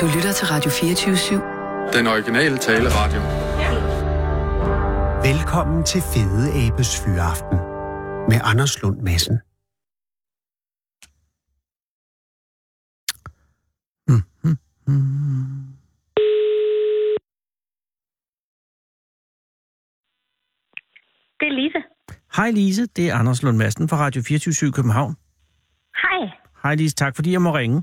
Du lytter til Radio 24 /7. Den originale taleradio. Velkommen til Fede Abes Fyraften med Anders Lund Madsen. Det er Lise. Hej Lise, det er Anders Lund Madsen fra Radio 24 København. Hej. Hej Lise, tak fordi jeg må ringe.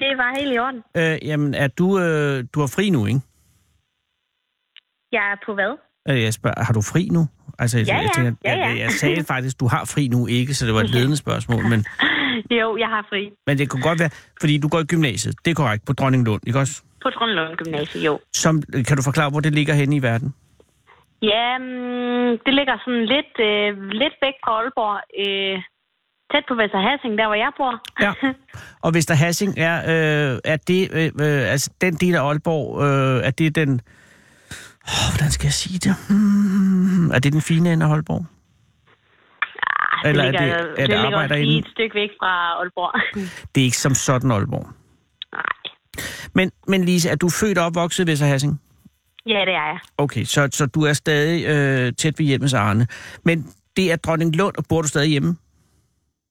Det var helt i orden. Øh, jamen, er du, øh, du har fri nu, ikke? Jeg er på hvad? Øh, jeg spørger, har du fri nu? Altså, jeg, Ja, jeg, ja. tænker, Ja, ja. Mhm. Jeg, jeg sagde faktisk, du har fri nu, ikke? Så det var et ledende spørgsmål, men, Jo, jeg har fri. men det kunne godt være, fordi du går i gymnasiet, det er korrekt, på Dronninglund, ikke også? På Trondlund Gymnasium, jo. Som, kan du forklare, hvor det ligger henne i verden? Ja, mm, det ligger sådan lidt, øh, lidt væk fra Aalborg. Øh, tæt på Vester Hassing, der hvor jeg bor. Ja. Og hvis der Hassing er, øh, er det, øh, øh, altså den del af Aalborg, øh, er det den, oh, hvordan skal jeg sige det? Hmm, er det den fine ende af Aalborg? Ah, Eller er ligger, det- er det ligger arbejderinde? lige et stykke væk fra Aalborg. Det er ikke som sådan Aalborg. Nej. Men, men Lise, er du født og opvokset ved Hassing? Ja, det er jeg. Okay, så, så du er stadig øh, tæt ved hjemmes Arne. Men det er Dronning Lund, og bor du stadig hjemme?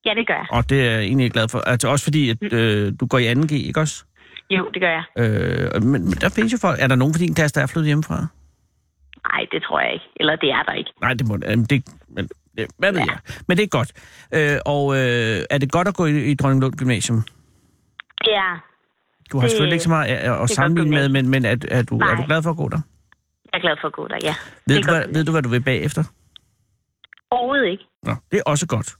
Ja, det gør jeg. Og det er jeg egentlig glad for. Altså også fordi, Mm. at øh, du går i 2G, ikke også? Jo, det gør jeg. Øh, men, men der findes jo folk. Er der nogen for din klasse, der er flyttet hjemmefra? Nej, det tror jeg ikke. Eller det er der ikke. Nej, det må jamen, det. Men, det- hvad ved ja. jeg? Men det er godt. Øh, og øh, er det godt at gå i, i Dronning Lund Gymnasium? Ja, Du har Det- selvfølgelig ikke så meget øh, at, at godt sammenligne med, gymnasium. men, men er, er, du, er Nej. du glad for at gå der? jeg er glad for at gå der, ja. Det Ved er du, godt hvad, ved du, hvad du vil bagefter? Overhovedet ikke. Nå, det er også godt.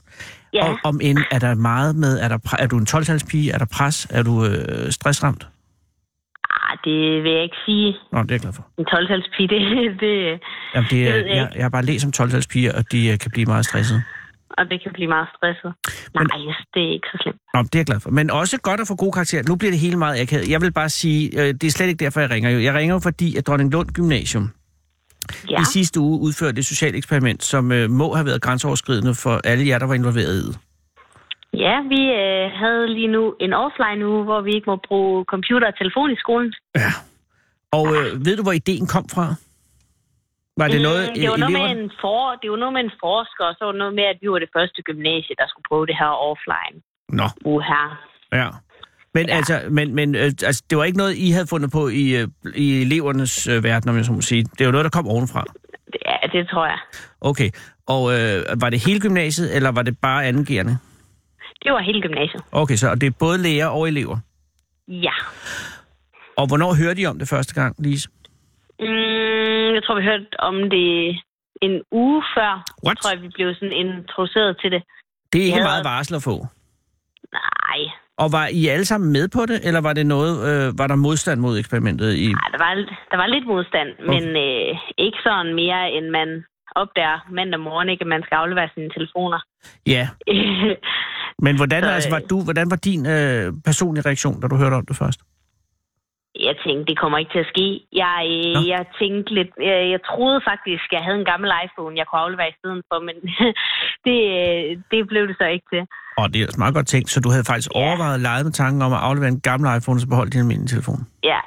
Ja. Og om end, er der meget med, er, der, pre- er du en 12-talspige, er der pres, er du øh, stressramt? Ah, det vil jeg ikke sige. Nå, det er jeg glad for. En 12-talspige, det, det, Jamen, det, Det ved er, jeg ikke. jeg, jeg har bare læst om 12-talspiger, og de øh, kan blive meget stressede. og det kan blive meget stresset. Men- Nej, yes, det er ikke så slemt. Nå, det er jeg glad for. Men også godt at få gode karakterer. Nu bliver det hele meget akavet. Jeg vil bare sige, øh, det er slet ikke derfor, jeg ringer jo. Jeg ringer jo, fordi at Dronning Lund Gymnasium Ja, i sidste uge udførte et socialt eksperiment, som øh, må have været grænseoverskridende for alle jer, der var involveret i det. ja vi øh, havde lige nu en offline uge, hvor vi ikke må bruge computer og telefon i skolen. Ja. Og øh, ved du, hvor ideen kom fra? Var det noget, Mm, Øh, øh, det, var noget med eleverne- en for, det var noget med en forsker, og så var det noget med, at vi var det første gymnasie, der skulle prøve det her offline Nå, uge her. Ja. Men ja. altså, men, men, øh, altså, det var ikke noget, I havde fundet på i, øh, i elevernes øh, verden, om jeg så må sige. Det var noget, der kom ovenfra. Ja, det tror jeg. Okay. Og øh, var det hele gymnasiet, eller var det bare andengerende? Det var hele gymnasiet. Okay, så og det er både lærer og elever. Ja. Og hvornår hørte I om det første gang, Lise? Mm, jeg tror, vi hørte om det en uge før. What? tror jeg, vi blev sådan introduceret til det. Det er ikke Ja. meget varsel at få. Nej, Og var I alle sammen med på det, eller var, det noget, øh, var der modstand mod eksperimentet? I... Ej, der var, der var lidt modstand, men øh, ikke sådan mere, end man opdager mandag morgen, ikke, at man skal aflevere sine telefoner. Ja, men hvordan, Så, øh, altså, var, du, hvordan var din øh, personlige reaktion, da du hørte om det først? jeg tænkte, det kommer ikke til at ske. Jeg, Nå. øh, jeg tænkte lidt, øh, jeg troede faktisk, jeg havde en gammel iPhone, jeg kunne aflevere i stedet for, men det, øh, det blev det så ikke til. Og det er ellers meget godt tænkt, så du havde faktisk Ja. ja. overvejet leget med tanken om at aflevere en gammel iPhone, og så beholde din almindelige telefon. Ja.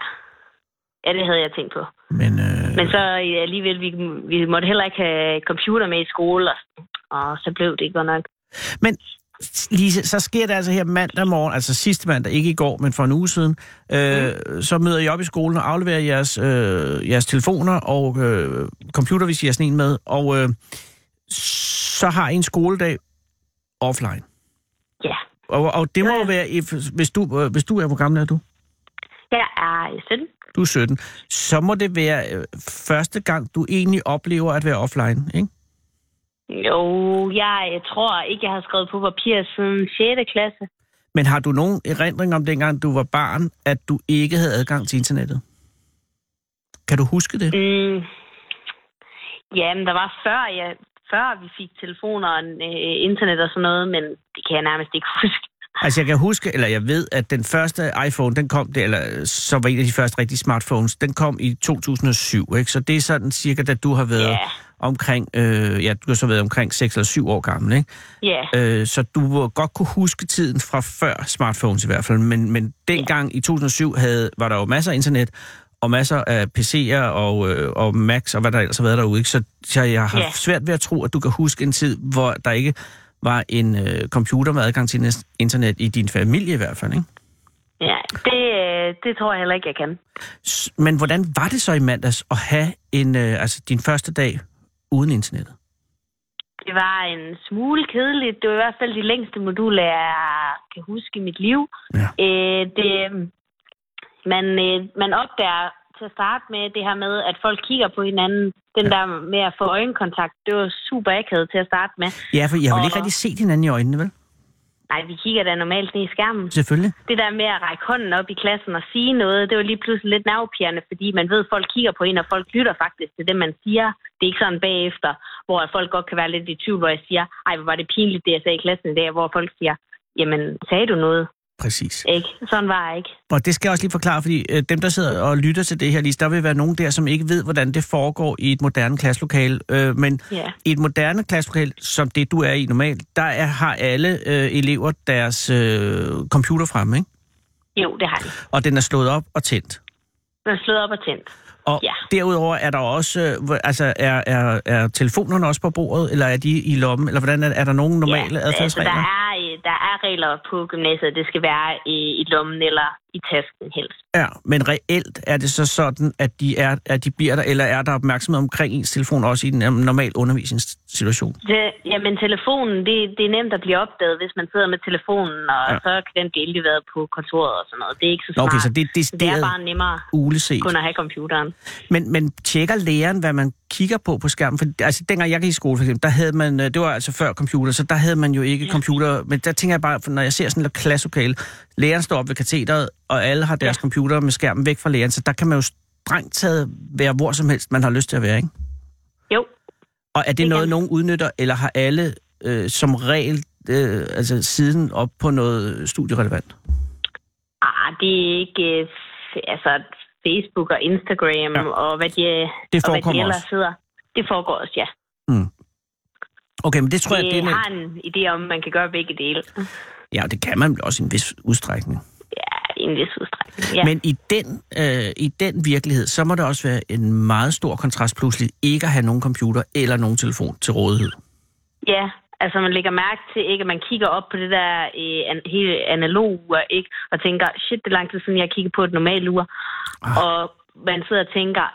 Ja, det havde jeg tænkt på. Men, øh, Men så øh, alligevel, vi, vi måtte heller ikke have computer med i skole, og, og så blev det godt nok. men Lise, så sker det altså her mandag morgen, altså sidste mandag, ikke i går, men for en uge siden, øh, Mm. så møder I op i skolen og afleverer jeres, øh, jeres telefoner og øh, computer, hvis I har sådan en med, og øh, så har I en skoledag offline. Ja. Og, og det må Ja, jo ja. være, if, hvis, du, øh, hvis du er, hvor gammel er du? Jeg er 17. Du er 17. Så må det være øh, første gang, du egentlig oplever at være offline, ikke? Jo, jeg, jeg tror ikke, jeg har skrevet på papir siden 6. klasse. Men har du nogen erindring om dengang, du var barn, at du ikke havde adgang til internettet? Kan du huske det? Mm. Jamen, der var før, ja, før vi fik telefoner og øh, internet og sådan noget, men det kan jeg nærmest ikke huske. Altså, jeg kan huske, eller jeg ved, at den første iPhone, den kom, det, eller så var en af de første rigtige smartphones, den kom i 2007, ikke? Så det er sådan cirka, da du har været Ja. omkring, øh, ja, du har så været omkring 6 eller 7 år gammel, ikke? Ja, Øh, så du må godt kunne huske tiden fra før smartphones i hvert fald, men, men dengang i 2007 havde, var der jo masser af internet, og masser af PC'er og, øh, og Macs og hvad der ellers har været derude. Ikke? Så, så jeg har Ja. svært ved at tro, at du kan huske en tid, hvor der ikke var en øh, computer med adgang til næst- internet i din familie i hvert fald. Ikke? ja. Det, øh, det tror jeg heller ikke, jeg kan. S- Men hvordan var det så i mandags at have en, øh, altså din første dag uden internettet? Det var en smule kedeligt. Det var i hvert fald de længste moduler, jeg kan huske i mit liv. Ja. Øh, det, man, øh, man opdager til at starte med det her med, at folk kigger på hinanden. Den ja. der med at få øjenkontakt, det var super akavet til at starte med. Ja, for jeg har vel ikke Og- rigtig set hinanden i øjnene, vel? Nej, vi kigger da normalt ned i skærmen. Selvfølgelig. Det der med at række hånden op i klassen og sige noget, det var lige pludselig lidt nervepirrende, fordi man ved, at folk kigger på en, og folk lytter faktisk til det, man siger. Det er ikke sådan bagefter, hvor folk godt kan være lidt i tvivl, hvor jeg siger, ej, hvor var det pinligt, det jeg sagde i klassen i dag, hvor folk siger, jamen, sagde du noget? Præcis. Ikke? Sådan var jeg ikke. Og det skal jeg også lige forklare, fordi øh, dem, der sidder og lytter til det her, lige, der vil være nogen der, som ikke ved, hvordan det foregår i et moderne klasselokale. Øh, men Ja. i et moderne klasselokale, som det du er i normalt, der er, har alle øh, elever deres øh, computer fremme, ikke? Jo, det har de. og den er slået op og tændt. Man slået op og tændt. Og Ja. derudover er der også, øh, hvor- altså er, er, er telefonerne også på bordet, eller er de i lommen, eller hvordan er, er der nogen normale ja, altså, adfærdsregler? der, er, øh, der er regler på gymnasiet, det skal være i, i lommen eller i tasken helst. Ja, men reelt er det så sådan, at de, er, at de bliver der, eller er der opmærksomhed omkring ens telefon også i en øhm, normal undervisningssituation? Det, jamen, telefonen, det, det er nemt at blive opdaget, hvis man sidder med telefonen, og Ja. ja. så kan den blive indleveret på kontoret og sådan noget. Det er ikke så Nå, smart. okay, så det er det er decideret bare nemmere uleset. kun at have computeren. Men, men tjekker læreren, hvad man kigger på på skærmen? For, altså, dengang jeg gik i skole, for eksempel, der havde man, øh, det var altså før computer, så der havde man jo ikke computer. Men der tænker jeg bare, for når jeg ser sådan en klasselokale, læreren står op ved katedret, og alle har deres ja. computer med skærmen væk fra læreren, så der kan man jo strengt taget være hvor som helst, man har lyst til at være, ikke? Jo, Og er det, Det det noget, kan- nogen udnytter, eller har alle øh, som regel øh, altså siden op på noget studierelevant? ah, det er ikke... øh, f- Altså, Facebook og Instagram ja. og hvad de, Det og hvad de forekommer ellers også. sidder. Det foregår også, ja. Okay, men det tror jeg, det det er har nemt. en idé om, man kan gøre begge dele. Ja, det kan man vel også i en vis udstrækning. Ja, i en vis udstrækning. Ja. Ja. Men i den, øh, i den virkelighed, så må der også være en meget stor kontrast pludselig ikke at have nogen computer eller nogen telefon til rådighed. Ja, altså man lægger mærke til, ikke, at man kigger op på det der øh, an, hele analoge ur, ikke, og tænker, shit, det er lang tid siden, jeg kiggede på et normalt ur. Ah. Ah. Og man sidder og tænker,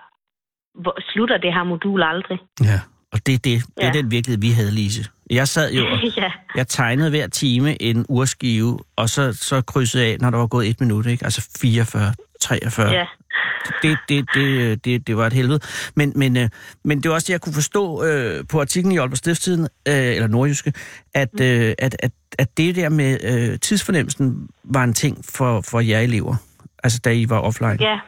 hvor, slutter det her modul aldrig? Ja. Og det er, det. det er Ja. den virkelighed, vi havde, Lise. Jeg sad jo og ja, Jeg tegnede hver time en urskive, og så, så krydsede jeg af, når der var gået et minut, ikke? Altså 44, 43. ja, Det, det, det, øh, det, det var et helvede. Men, men, øh, men det var også det, jeg kunne forstå øh, på artiklen i Aalborg Stiftstiden, øh, eller Nordjyske, at, øh, at, at, at det der med øh, tidsfornemmelsen var en ting for, for jer elever. Altså, da I var offline. ja.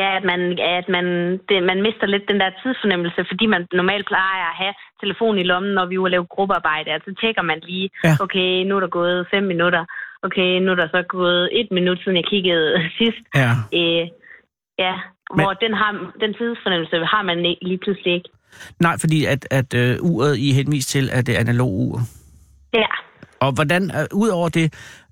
Ja, at man, at man, det, man mister lidt den der tidsfornemmelse, fordi man normalt plejer at have telefon i lommen, når vi er ude og lave gruppearbejde, og så tjekker man lige, Ja. ja. okay, nu er der gået fem minutter, okay, nu er der så gået et minut, siden jeg kiggede sidst, ja. Øh, ja, hvor den, har, den tidsfornemmelse har man ikke- lige pludselig ikke. Nej, fordi at, at øh, uret, I er henvist til, at det er analog ur. Ja, Og hvordan, øh, ud over det,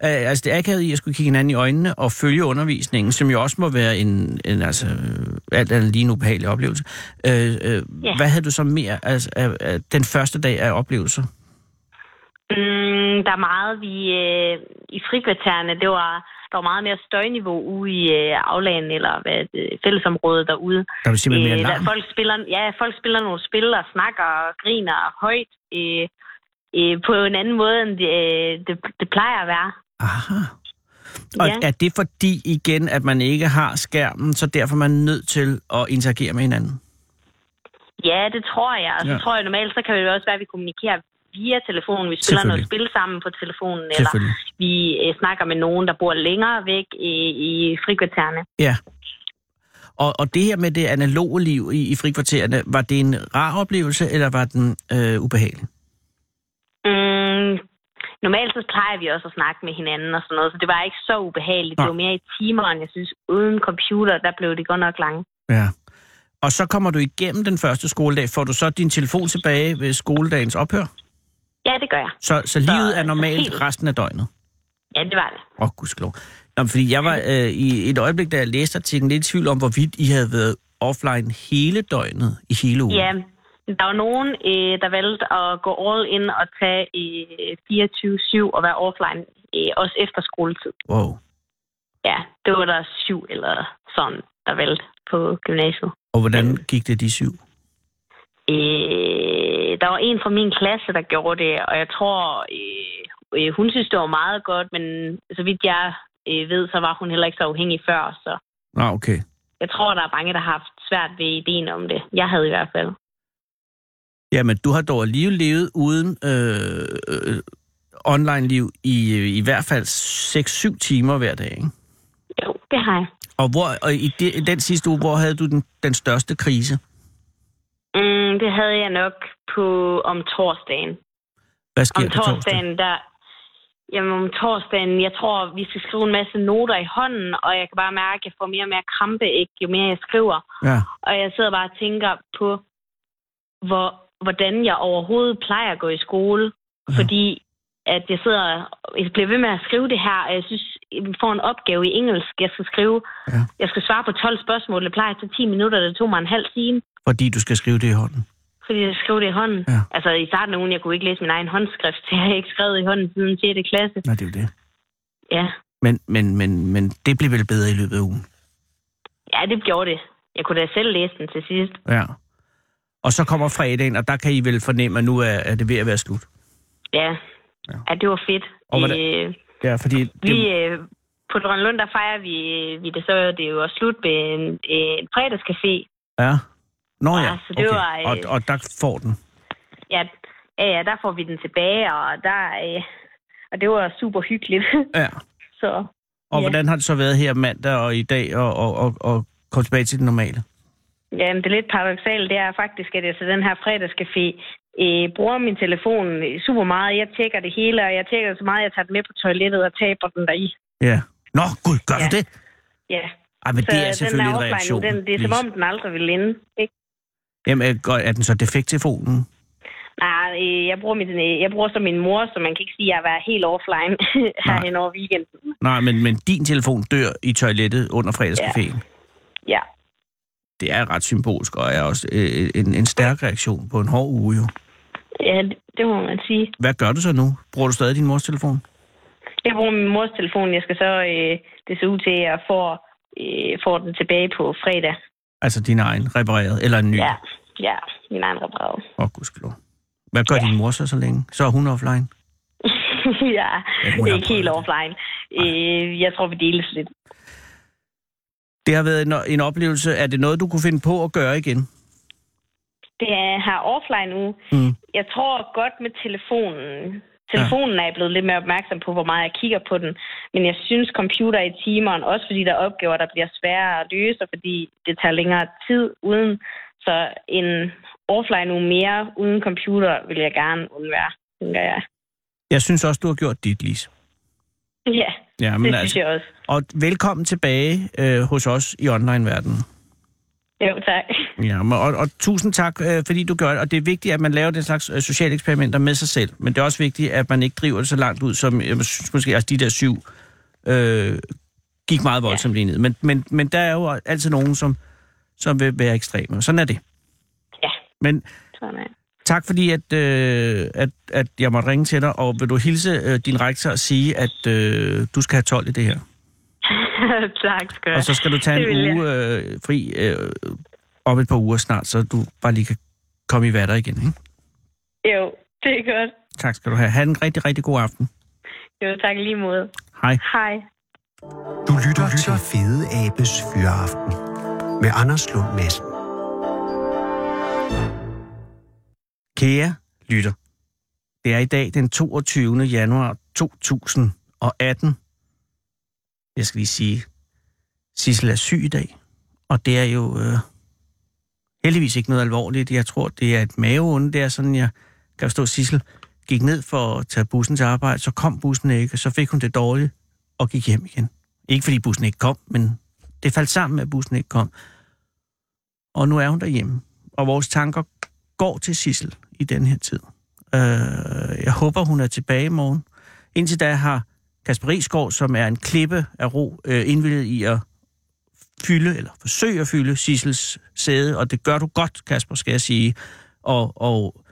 øh, altså det akavet i at skulle kigge hinanden i øjnene og følge undervisningen, som jo også må være en, en altså, øh, alt andet lige en ubehagelig oplevelse. Øh, øh, Ja. Hvad havde du så mere altså, af, af den første dag af oplevelser? mm, der er meget vi øh, i frikvartererne, det var, der var meget mere støjniveau ude i øh, aflagen eller hvad, det, fællesområdet derude. Der var simpelthen mere Øh, larm. der, folk spiller, ja, folk spiller nogle spil og snakker og griner højt øh, øh, på en anden måde, end det, øh, det, det plejer at være. Aha. Og Ja. er det fordi igen, at man ikke har skærmen, så derfor er man nødt til at interagere med hinanden? Ja, det tror jeg. Og så Ja. tror jeg normalt, så kan det jo også være, at vi kommunikerer via telefonen. Vi spiller noget Selvfølgelig. spil sammen på telefonen, eller Selvfølgelig. vi øh, snakker med nogen, der bor længere væk i, i frikvartererne. Ja. Og, og det her med det analoge liv i, i frikvartererne, var det en rar oplevelse, eller var den øh, ubehagelig? Mm, normalt så plejer vi også at snakke med hinanden og sådan noget, så det var ikke så ubehageligt. Det Nej. var mere i timer, end jeg synes, uden computer, der blev det godt nok langt. Ja. Og så kommer du igennem den første skoledag. Får du så din telefon tilbage ved skoledagens ophør? Ja, det gør jeg. Så, så livet er helt- normalt resten af døgnet? Ja, det var det. Åh, oh, gudskelov. Nå, men fordi jeg var øh, i et øjeblik, da jeg læste artiklen, lidt i tvivl om, hvorvidt I havde været offline hele døgnet i hele ugen. Ja, der var nogen, øh, der valgte at gå all in og tage øh, 24-7 og være offline, øh, også efter skoletid. Wow. Ja, det var der syv eller sådan, der valgte på gymnasiet. Og hvordan gik det de syv? Øh, der var en fra min klasse, der gjorde det, og jeg tror, øh, øh, hun synes, det var meget godt, men så vidt jeg øh, ved, så var hun heller ikke så afhængig før, så Nå, ah, okay. jeg tror, der er mange, der har haft svært ved ideen om det. Jeg havde i hvert fald. Jamen, du har dog alligevel levet uden øh, øh, online-liv i, øh, i hvert fald 6-7 timer hver dag, ikke? Jo, det har jeg. Og, hvor, og i, de, i den sidste uge, hvor havde du den, den største krise? Mm, det havde jeg nok på om torsdagen. Hvad sker Om på torsdag? torsdagen, der... Jamen om torsdagen, jeg tror, vi skal skrive en masse noter i hånden, og jeg kan bare mærke, at jeg får mere og mere krampe, ikke, jo mere jeg skriver. Ja. Og jeg sidder bare og tænker på, hvor, hvordan jeg overhovedet plejer at gå i skole. Ja. Ja. Fordi at jeg sidder jeg bliver ved med at skrive det her, og jeg synes, vi får en opgave i engelsk, jeg skal skrive. Ja. Jeg skal svare på 12 spørgsmål, det plejer at tage 10 minutter, det tog mig en halv time, Fordi du skal skrive det i hånden. fordi jeg skrev det i hånden. Ja. Altså i starten af ugen, jeg kunne ikke læse min egen håndskrift, så jeg har ikke skrevet i hånden siden 6. klasse. Nej, det er jo det. Ja, Men, men, men, men det blev vel bedre i løbet af ugen? ja det gjorde det. Jeg kunne da selv læse den til sidst. Ja. Og så kommer fredagen, og der kan I vel fornemme, at nu er, er det ved at være slut. Ja, Ja. ja. ja det var fedt. Og hvordan- Øh, Ja, fordi... Det, Vi, øh, på Drøn Lund, der fejrer vi, øh, vi det, så det er jo også slut med en, øh, en fredagscafé. Ja. Nå ja, Altså, det var, Og, øh, og der får den. Ja, ja, ja, der får vi den tilbage, og, der, øh, og det var super hyggeligt. Ja. så Og ja. hvordan har det så været her mandag og i dag og, og, og, og komme tilbage til det normale? ja, men det lidt paradoxale, det er faktisk, at jeg til den her fredagscafé øh, bruger min telefon øh, super meget. Jeg tjekker det hele, og jeg tjekker så meget, jeg tager den med på toilettet og taber den deri. Ja. Nå, gud, gør Ja. du det? Ja, Ej, men så det er den selvfølgelig er en offline nu. reaktion. Den, det er Lise. som om, den aldrig vil ende. Ikke? Jamen, er, godt- er den så defekt telefonen? Nej, øh, jeg bruger, min, øh, jeg bruger så min mor, så man kan ikke sige, at jeg har været helt offline her Nej. hen over weekenden. Nej, men, men din telefon dør i toilettet under fredagscaféen. Ja. Ja. Det er ret symbolsk, og er også øh, en, en stærk reaktion på en hård uge jo. ja, det- det må man sige. Hvad gør du så nu? Bruger du stadig din mors telefon? Jeg bruger min mors telefon. Jeg skal så, øh, det ser ud til, at jeg får, øh, får den tilbage på fredag. Altså din egen repareret, eller en ny? Ja, ja min egen repareret. Åh, oh, gudskelov. Hvad gør ja. din mor så så længe? Så er hun offline? ja, Ja, hun har det er ikke helt prøvet det. offline. Øh, jeg tror, vi deles lidt. Det har været en, en oplevelse. Er det noget, du kunne finde på at gøre igen? Det er her offline nu. Mm. Jeg tror godt med telefonen. Telefonen er jeg blevet lidt mere opmærksom på, hvor meget jeg kigger på den. Men jeg synes computer i timeren, også fordi der er opgaver, der bliver sværere at løse, og fordi det tager længere tid uden. Så en offline nu mere uden computer vil jeg gerne undvære, tænker jeg. Jeg synes også, du har gjort dit, Lise. Ja, Ja, det men synes altså, jeg også. og velkommen tilbage øh, hos os i online-verdenen. Jo, tak. Ja, men- og, og tusind tak, øh, fordi du gør det. Og det er vigtigt, at man laver den slags øh, sociale eksperimenter med sig selv. Men det er også vigtigt, at man ikke driver det så langt ud, som jeg synes måske altså, de der syv øh, gik meget voldsomt lige ned. Men, men, men der er jo altid nogen, som, som vil være ekstreme. Sådan er det. Ja, Men sådan er det. Tak fordi, at, øh, at, at jeg måtte ringe til dig, og vil du hilse øh, din rektor og sige, at øh, du skal have 12 i det her. tak skal du Og så skal du tage Det vil en jeg. uge øh, fri øh, om et par uger snart, så du bare lige kan komme i vatter igen. Ikke? have. Jo, det er godt. Tak skal du have. Ha' en rigtig, rigtig god aften. Jo, tak i lige måde. Hej. Hej. Du lytter, du lytter. til Fede Abes Fyraften med Anders Lund Madsen. Kære lytter, det er i dag den 22. januar 2018. Jeg skal lige sige, Sissel er syg i dag, og det er jo øh, heldigvis ikke noget alvorligt. Jeg tror, det er et maveonde, det er sådan, jeg kan forstå, Sissel gik ned for at tage bussen til arbejde, så kom bussen ikke, så fik hun det dårligt og gik hjem igen. Ikke fordi bussen ikke kom, men det faldt sammen med, at bussen ikke kom. Og nu er hun derhjemme, og vores tanker går til Sissel i den her tid. Øh, jeg håber, hun er tilbage i morgen. Indtil da har Kasper Isgaard, som er en klippe af ro, øh, indvildet i at fylde, eller forsøge at fylde Sissels sæde, og det gør du godt, Kasper, skal jeg sige. Og, og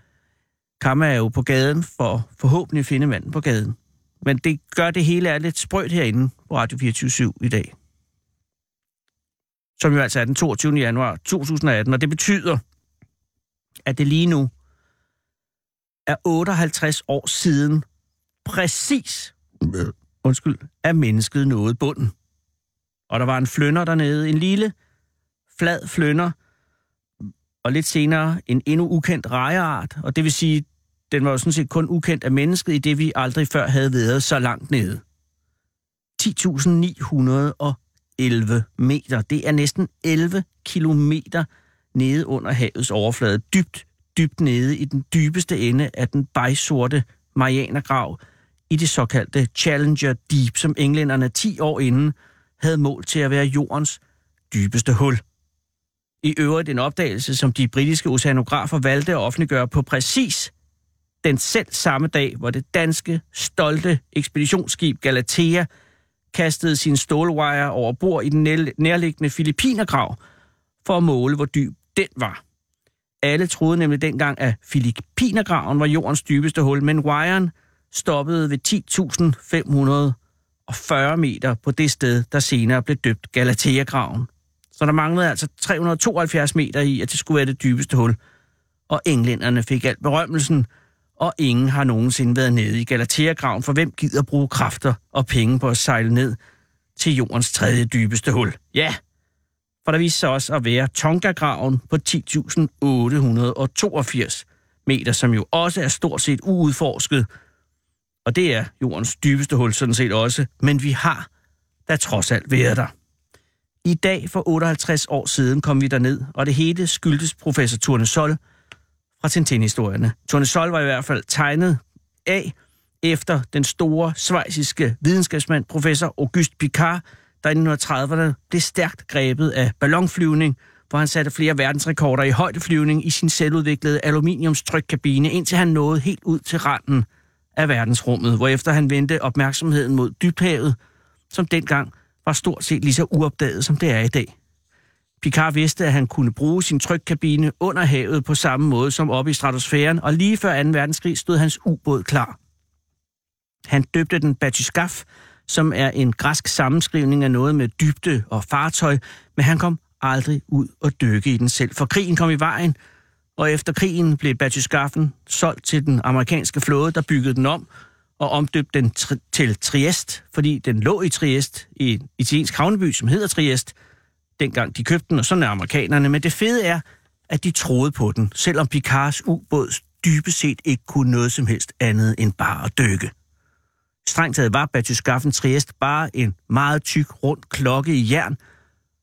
Kamma er jo på gaden for forhåbentlig at finde manden på gaden. Men det gør det hele er lidt sprødt herinde på Radio 24 i dag. Som jo altså er den 22. januar 2018, og det betyder, at det lige nu er 58 år siden præcis, undskyld, at mennesket nåede bunden. Og der var en flønder dernede, en lille, flad flønder, og lidt senere en endnu ukendt rejeart, og det vil sige, den var jo sådan set kun ukendt af mennesket, i det vi aldrig før havde været så langt nede. 10.911 meter, det er næsten 11 kilometer nede under havets overflade, dybt, dybt nede i den dybeste ende af den bejsorte Marianergrav i det såkaldte Challenger Deep, som englænderne 10 år inden havde målt til at være jordens dybeste hul. I øvrigt en opdagelse, som de britiske oceanografer valgte at offentliggøre på præcis den selv samme dag, hvor det danske, stolte ekspeditionsskib Galatea kastede sin stålwire over bord i den næl- nærliggende Filippinergrav for at måle, hvor dyb den var. Alle troede nemlig dengang, at Filippinergraven var jordens dybeste hul, men wiren stoppede ved 10.540 meter på det sted, der senere blev døbt Galatea-graven. Så der manglede altså 372 meter i, at det skulle være det dybeste hul. Og englænderne fik alt berømmelsen, og ingen har nogensinde været nede i Galatea-graven, for hvem gider bruge kræfter og penge på at sejle ned til jordens tredje dybeste hul? Ja, for der viste sig også at være Tonga-graven på 10.882 meter, som jo også er stort set uudforsket, og det er jordens dybeste hul sådan set også, men vi har da trods alt været der. I dag for 58 år siden kom vi derned, og det hele skyldtes professor Turne Sol fra Tintin-historierne. Turne Sol var i hvert fald tegnet af efter den store svejsiske videnskabsmand professor Auguste Picard, der i 1930'erne blev stærkt grebet af ballonflyvning, hvor han satte flere verdensrekorder i højdeflyvning i sin selvudviklede aluminiumstrykkabine, indtil han nåede helt ud til randen af verdensrummet, hvorefter han vendte opmærksomheden mod dybhavet, som dengang var stort set lige så uopdaget, som det er i dag. Picard vidste, at han kunne bruge sin trykkabine under havet på samme måde som oppe i stratosfæren, og lige før 2. verdenskrig stod hans ubåd klar. Han døbte den Batyskaf, som er en græsk sammenskrivning af noget med dybde og fartøj, men han kom aldrig ud og dykke i den selv, for krigen kom i vejen, og efter krigen blev Batyskaffen solgt til den amerikanske flåde, der byggede den om og omdøbte den tri- til Triest, fordi den lå i Triest, i en italiensk havneby, som hedder Triest, dengang de købte den, og sådan er amerikanerne. Men det fede er, at de troede på den, selvom Picards ubåd dybest set ikke kunne noget som helst andet end bare at dykke. Strengt taget var Batyskaffen Triest bare en meget tyk, rund klokke i jern,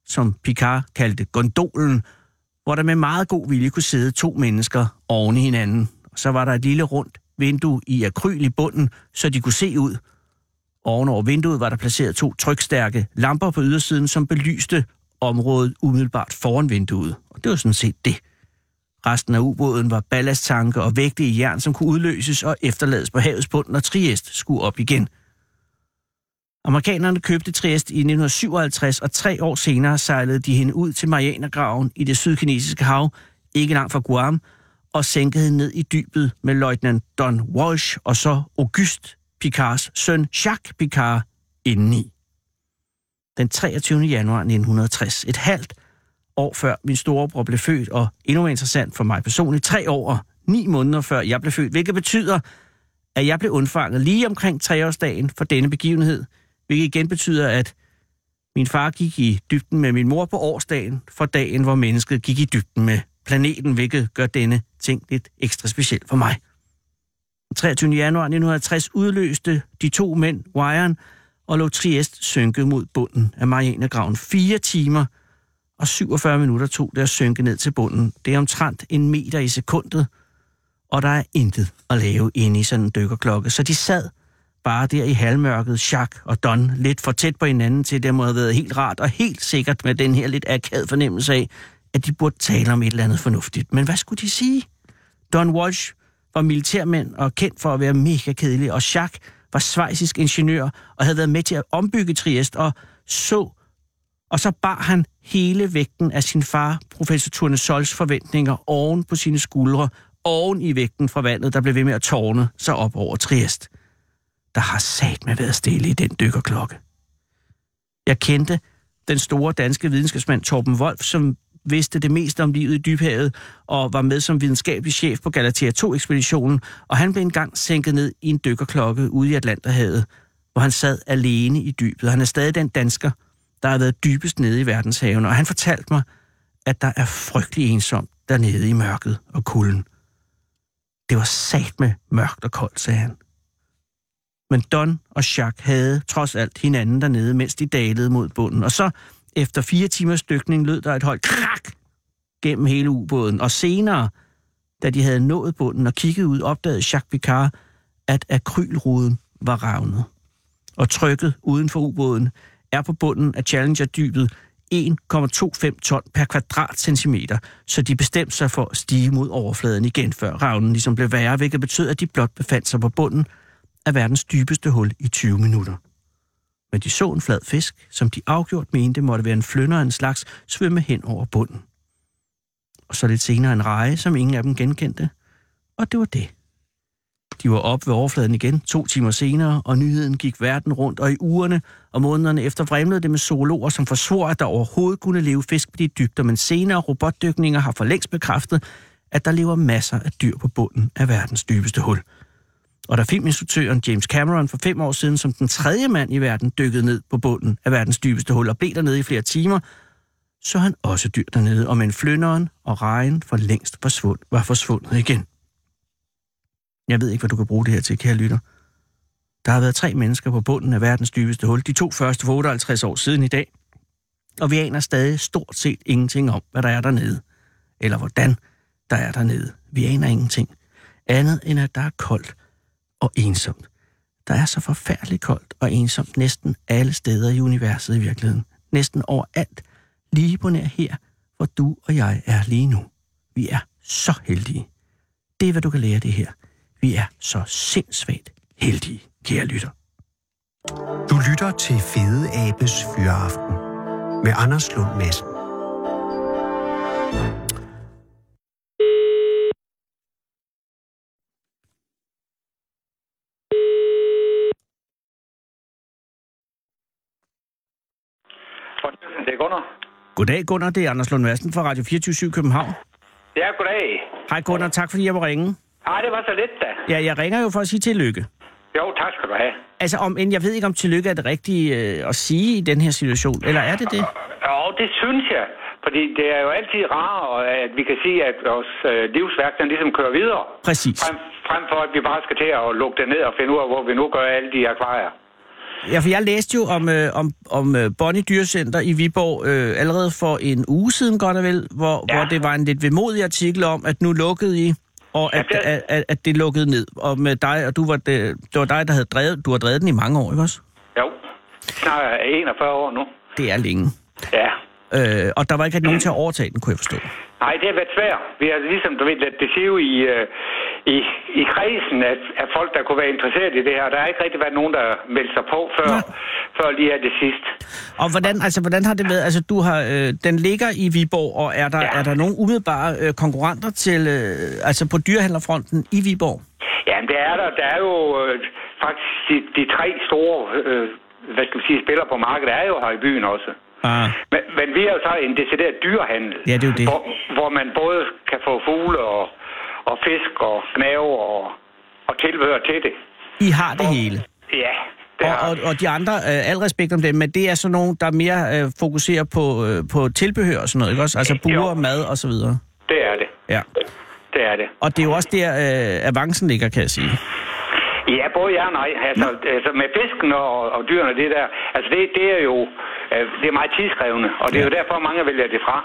som Picard kaldte gondolen, hvor der med meget god vilje kunne sidde to mennesker oven i hinanden. Og så var der et lille rundt vindue i akryl i bunden, så de kunne se ud. Oven over vinduet var der placeret to trykstærke lamper på ydersiden, som belyste området umiddelbart foran vinduet. Og det var sådan set det. Resten af ubåden var ballasttanke og vægte i jern, som kunne udløses og efterlades på havets bund, når Triest skulle op igen. Amerikanerne købte Triest i 1957, og tre år senere sejlede de hende ud til Marianergraven i det sydkinesiske hav, ikke langt fra Guam, og sænkede hende ned i dybet med løjtnant Don Walsh og så Auguste Picards søn Jacques Picard indeni. Den 23. januar 1960, et halvt år før min storebror blev født, og endnu mere interessant for mig personligt, tre år og ni måneder før jeg blev født, hvilket betyder, at jeg blev undfanget lige omkring treårsdagen for denne begivenhed, hvilket igen betyder, at min far gik i dybden med min mor på årsdagen for dagen, hvor mennesket gik i dybden med planeten, hvilket gør denne ting lidt ekstra speciel for mig. Den 23. januar 1960 udløste de to mænd wiren og lå Triest synke mod bunden af Marianergraven. Fire timer og 47 minutter tog det at synke ned til bunden. Det er omtrent en meter i sekundet, og der er intet at lave inde i sådan en dykkerklokke. Så de sad bare der i halvmørket, Jacques og Don, lidt for tæt på hinanden, til det må have været helt rart og helt sikkert med den her lidt akad fornemmelse af, at de burde tale om et eller andet fornuftigt. Men hvad skulle de sige? Don Walsh var militærmand og kendt for at være mega kedelig, og Jacques var svejsisk ingeniør og havde været med til at ombygge Triest og så, og så bar han hele vægten af sin far, professor Turne Sols forventninger, oven på sine skuldre, oven i vægten fra vandet, der blev ved med at tårne sig op over Triest. Der har sat med været stille i den dykkerklokke. Jeg kendte den store danske videnskabsmand Torben Wolf, som vidste det meste om livet i dybhavet og var med som videnskabelig chef på Galatea 2-ekspeditionen, og han blev engang sænket ned i en dykkerklokke ude i Atlanterhavet, hvor han sad alene i dybet. Han er stadig den dansker, der har været dybest nede i verdenshaven, og han fortalte mig, at der er frygtelig ensomt dernede i mørket og kulden. Det var sat med mørkt og koldt, sagde han. Men Don og Jacques havde trods alt hinanden dernede, mens de dalede mod bunden. Og så, efter fire timers dykning, lød der et højt krak gennem hele ubåden. Og senere, da de havde nået bunden og kigget ud, opdagede Jacques Picard, at akrylruden var ravnet. Og trykket uden for ubåden er på bunden af Challenger-dybet 1,25 ton per kvadratcentimeter, så de bestemte sig for at stige mod overfladen igen, før ravnen ligesom blev værre, hvilket betød, at de blot befandt sig på bunden af verdens dybeste hul i 20 minutter. Men de så en flad fisk, som de afgjort mente måtte være en flynder af en slags, svømme hen over bunden. Og så lidt senere en reje, som ingen af dem genkendte. Og det var det. De var oppe ved overfladen igen to timer senere, og nyheden gik verden rundt, og i ugerne og månederne efter vremlede det med zoologer, som forsvor, at der overhovedet kunne leve fisk på de dybder, men senere robotdykninger har for længst bekræftet, at der lever masser af dyr på bunden af verdens dybeste hul. Og da filminstruktøren James Cameron for fem år siden som den tredje mand i verden dykkede ned på bunden af verdens dybeste hul og blev dernede i flere timer, så han også dyr dernede, og men flynderen og rejen for længst forsvund, var forsvundet igen. Jeg ved ikke, hvad du kan bruge det her til, kære lytter. Der har været tre mennesker på bunden af verdens dybeste hul, de to første for 58 år siden i dag, og vi aner stadig stort set ingenting om, hvad der er dernede, eller hvordan der er dernede. Vi aner ingenting. Andet end, at der er koldt og ensomt. Der er så forfærdeligt koldt og ensomt næsten alle steder i universet i virkeligheden. Næsten overalt. Lige på nær her, hvor du og jeg er lige nu. Vi er så heldige. Det er, hvad du kan lære af det her. Vi er så sindssygt heldige, kære lytter. Du lytter til Fede Abes Fyraften med Anders Lund Madsen. Fornøjelsen, det er Gunnar. Goddag, Gunnar. Det er Anders Lund Madsen fra Radio 24 København. Ja, goddag. Hej, Gunnar. Tak, fordi jeg må ringe. Ej, det var så lidt da. Ja, jeg ringer jo for at sige tillykke. Jo, tak skal du have. Altså, om end jeg ved ikke, om tillykke er det rigtige øh, at sige i den her situation. Eller er det det? Jo, det synes jeg. Fordi det er jo altid rart, at vi kan sige, at vores øh, livsværk, den ligesom kører videre. Præcis. Frem, frem for, at vi bare skal til at lukke det ned og finde ud af, hvor vi nu gør alle de akvarier. Ja, for jeg læste jo om, øh, om, om øh, Bonnie Dyrecenter i Viborg øh, allerede for en uge siden, godt og vel, hvor, ja. Ja. hvor det var en lidt vemodig artikel om, at nu lukkede I, og at, Ja, at, det- at, at det lukkede ned. Og med dig, og du var det, det var dig, der havde drevet, du har drevet den i mange år, ikke også? Jo, snart er jeg 41 år nu. Det er længe. Ja. Øh, og der var ikke rigtig nogen til at overtage den, kunne jeg forstå. Nej, det har været svært. Vi har ligesom, du ved, lidt det sive i, øh, i, i kredsen af, af folk, der kunne være interesseret i det her. Der har ikke rigtig været nogen, der meldte sig på før, Nej. før lige af det sidste. Og hvordan, altså, hvordan har det været? Altså, du har, øh, den ligger i Viborg, og er der, ja. Ja. er der nogen umiddelbare øh, konkurrenter til, øh, altså på dyrehandlerfronten i Viborg? Jamen, det er der. Der er jo øh, faktisk de, de tre store, øh, hvad skal man sige, spillere på markedet, er jo her i byen også. Ah. Men, men vi er jo så en decideret dyrehandel. Ja, det er jo det. Hvor, hvor man både kan få fugle og, og fisk og knave og, og tilbehør til det. I har det hele. Ja, det Og, har og, vi. og de andre, øh, al respekt om dem, men det er sådan nogen, der mere øh, fokuserer på, øh, på tilbehør og sådan noget, ikke også? Altså buer, Jo. mad og så videre. det er det. Ja. Det er det. Og det er jo også der, øh, avancen ligger, kan jeg sige. Ja, både ja og nej. Altså, altså med fisken og, og dyrene, det der, altså det, det er jo øh, det er meget tidskrævende, og det er jo derfor, mange vælger det fra.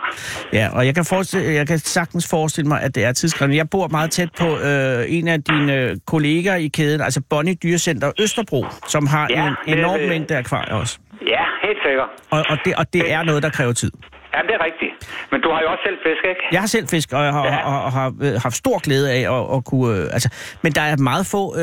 Ja, og jeg kan, forestille, jeg kan sagtens forestille mig, at det er tidskrævende. Jeg bor meget tæt på øh, en af dine øh, kolleger i kæden, altså Bonnie Dyrecenter Østerbro, som har Ja, ja, en det- enorm det- mængde akvarier også. Ja, helt sikkert. Og, og, det, og det er noget, der kræver tid. Ja, det er rigtigt. Men du har jo også selv fisk, ikke? Jeg har selv fisk, og jeg har, ja. Ja. og, og har øh, haft stor glæde af at, at kunne... Øh, altså, men der er meget få øh,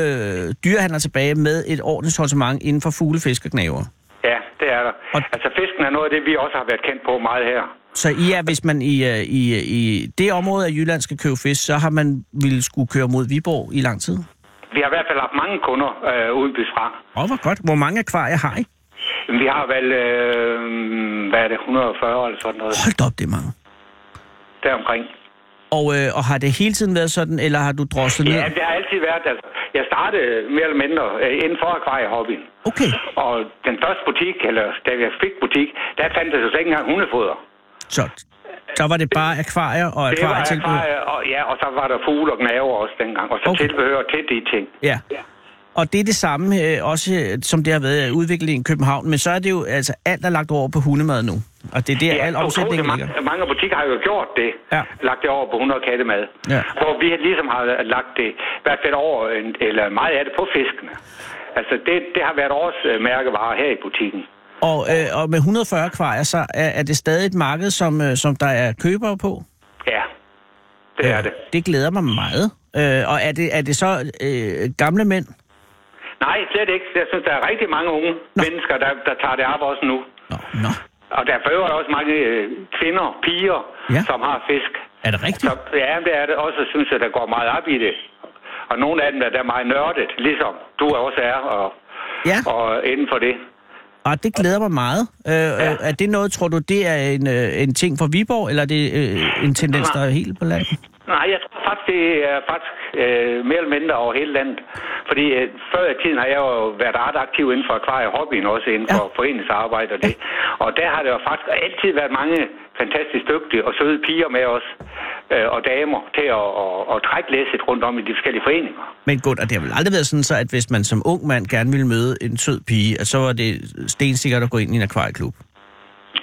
dyrehandler tilbage med et ordentligt sortiment inden for fugle, fisk og knæver. Ja, det er der. Og- Altså, fisken er noget af det, vi også har været kendt på meget her. Så I er, hvis man i, øh, i, i det område af Jylland skal købe fisk, så har man ville skulle køre mod Viborg i lang tid. Vi har i hvert fald haft mange kunder øh, udenbys fra. Åh, hvor godt. Hvor mange akvarier har I? Vi har vel, øh, hvad er det, 140 eller sådan noget, Hold da op, det er mange. deromkring. Og, øh, og har det hele tiden været sådan, eller har du drosset Ja, ned? det har altid været, altså, jeg startede mere eller mindre øh, inden for akvariehobbyen. Okay, Og den første butik, eller da jeg fik butik, der fandt der så slet ikke engang hundefoder. så så var det bare akvarier og Det var akvarietilbud. akvarie, og, ja, og så var der fugle og gnaver også dengang, og så Okay. okay. tilbehør til de ting. Ja. Og det er det samme, øh, også øh, som det har været øh, udviklet i København, men så er det jo altså alt, der er lagt over på hundemad nu. Og det er der, ja, al utrolig omsætningen ligger. mange, mange butikker har jo gjort det. Ja. Lagt det over på 100 kattemad. Ja. Hvor vi ligesom har lagt det, i hvert fald over, en- eller meget af det på fiskene. Altså, det, det har været vores øh, mærkevare her i butikken. Og, øh, og med 140 akvarier, så er, er det stadig et marked, som, øh, som der er købere på. Ja, det er det. Det glæder mig meget. Øh, og er det, er det så øh, gamle mænd? Nej, slet ikke. Jeg synes, der er rigtig mange unge Nå. mennesker, der, der tager det op også nu. Nå, nå. Og der er for øvrigt også mange øh, kvinder, piger, Ja. ja. som har fisk. Er det rigtigt? Så ja, det er det også, synes jeg, der går meget op i det. Og nogle af dem er der er meget nørdet, ligesom du også er, og, Ja. og inden for det. Og Ah, det glæder mig meget. Øh, ja. Er det noget, tror du, det er en, øh, en ting for Viborg, eller er det øh, en tendens, der er helt på landet? Nej, jeg tror faktisk, det er faktisk øh, mere eller mindre over hele landet. Fordi øh, før i tiden har jeg jo været ret aktiv inden for akvariehobbyen, også inden for ja. foreningsarbejde og det. Og der har der jo faktisk altid været mange fantastisk dygtige og søde piger med os, øh, og damer, til at, at, at trække læsset rundt om i de forskellige foreninger. Men godt, og det har vel aldrig været sådan, så, at hvis man som ung mand gerne ville møde en sød pige, at så var det stensikkert at gå ind i en akvarieklub.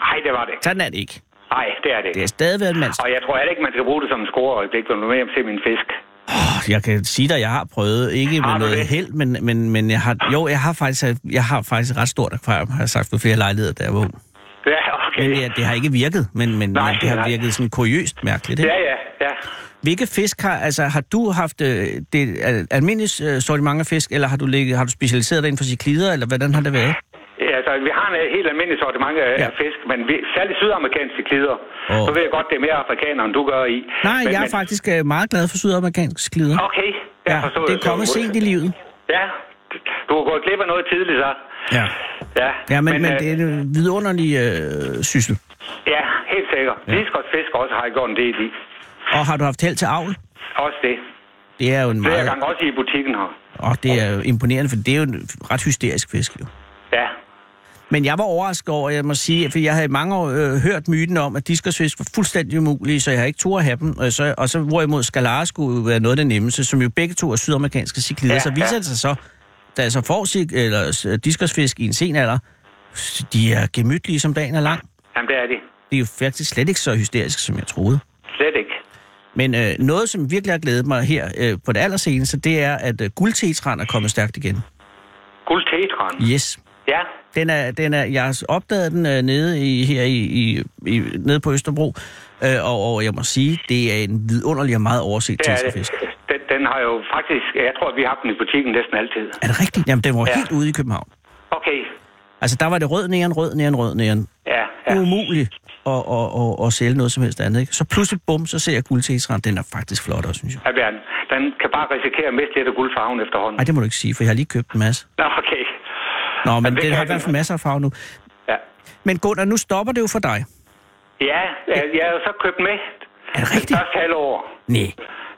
Nej, det var det. Sådan er det ikke. Nej, det er det. Det er stadig været en mands... Og jeg tror heller ikke, man skal bruge det som en scoreøjeblik, når du er med hjem til min fisk. Åh, Jeg kan sige dig, jeg har prøvet, ikke med Har du noget det? held, men, men, men jeg har, jo, jeg har faktisk, jeg har faktisk et ret stort akvarium, har jeg sagt på flere lejligheder, da jeg var ung. Ja, okay. Men ja, det har ikke virket, men, men, Nej, men det har nej. virket sådan kuriøst mærkeligt. Ikke? Ja, ja, ja. Hvilke fisk har, altså har du haft øh, det al- almindelige øh, sortiment af fisk, eller har du, ligget, har du specialiseret dig inden for ciklider, eller hvordan har det været? Ja, altså, vi har en øh, helt almindelig sortiment af Ja. ja. fisk, men vi, særligt sydamerikanske klider. Åh. Oh. Så ved jeg godt, det er mere afrikanere, end du gør i. Nej, men, jeg er men, faktisk øh, meget glad for sydamerikansk sklider. Okay, jeg forstår det er kommet så- sent i livet. Ja, du har gået glip af noget tidligt, så. Ja. Ja, Ja, men, men, men øh, det er en vidunderlig øh, syssel. ja helt sikkert. Ja. fisk også har jeg gjort en del i. Og har du haft held til avl? Også det. Det er jo en Flere meget... gange også i butikken her. Og det er jo imponerende, for det er jo en ret hysterisk fisk, jo. Ja, Men jeg var overrasket over, jeg må sige, for jeg havde i mange år øh, hørt myten om, at diskusfisk var fuldstændig umulige, så jeg har ikke tur at have dem. Og så, og så hvorimod skalara skulle jo være noget af det nemmeste, som jo begge to er sydamerikanske ciklider. Ja, Ja, så viser ja. det sig så, da jeg så får cik- eller, øh, diskusfisk i en sen alder, de er gemytlige, som dagen er lang. jamen det er det. Det er jo faktisk slet ikke så hysterisk, som jeg troede. Slet ikke. Men øh, noget, som virkelig har glædet mig her øh, på det allerseneste, det er, at øh, guldtetran er kommet stærkt igen. Guld tetran. Yes. Ja, Den er, den er, jeg har opdaget den øh, nede i, her i, i, i, nede på Østerbro, øh, og, og jeg må sige, det er en vidunderlig og meget overset det er det. tissefisk. Den, den har jo faktisk... Jeg tror, vi har haft den i butikken næsten altid. Er det rigtigt? Jamen, den var ja. Ja. helt ude i København. Okay, Altså, der var det rød næren, rød næren, rød næren. ja, Ja. ja. Umuligt at, at, at, at, sælge noget som helst andet. Ikke? Så pludselig, bum, så ser jeg guldtetran. Den er faktisk flot også, synes jeg. Ja, Bjørn, den kan bare risikere at miste lidt af guldfarven efterhånden. Ej, det må du ikke sige, for jeg har lige købt en masse. Nå, okay. Nå, men det det, det kan har i jeg hvert fald ikke. masser af farve nu. Ja, Men Gunnar, nu stopper det jo for dig. ja jeg, jeg har jo så købt med. Er det rigtigt? Første halvår. Nej.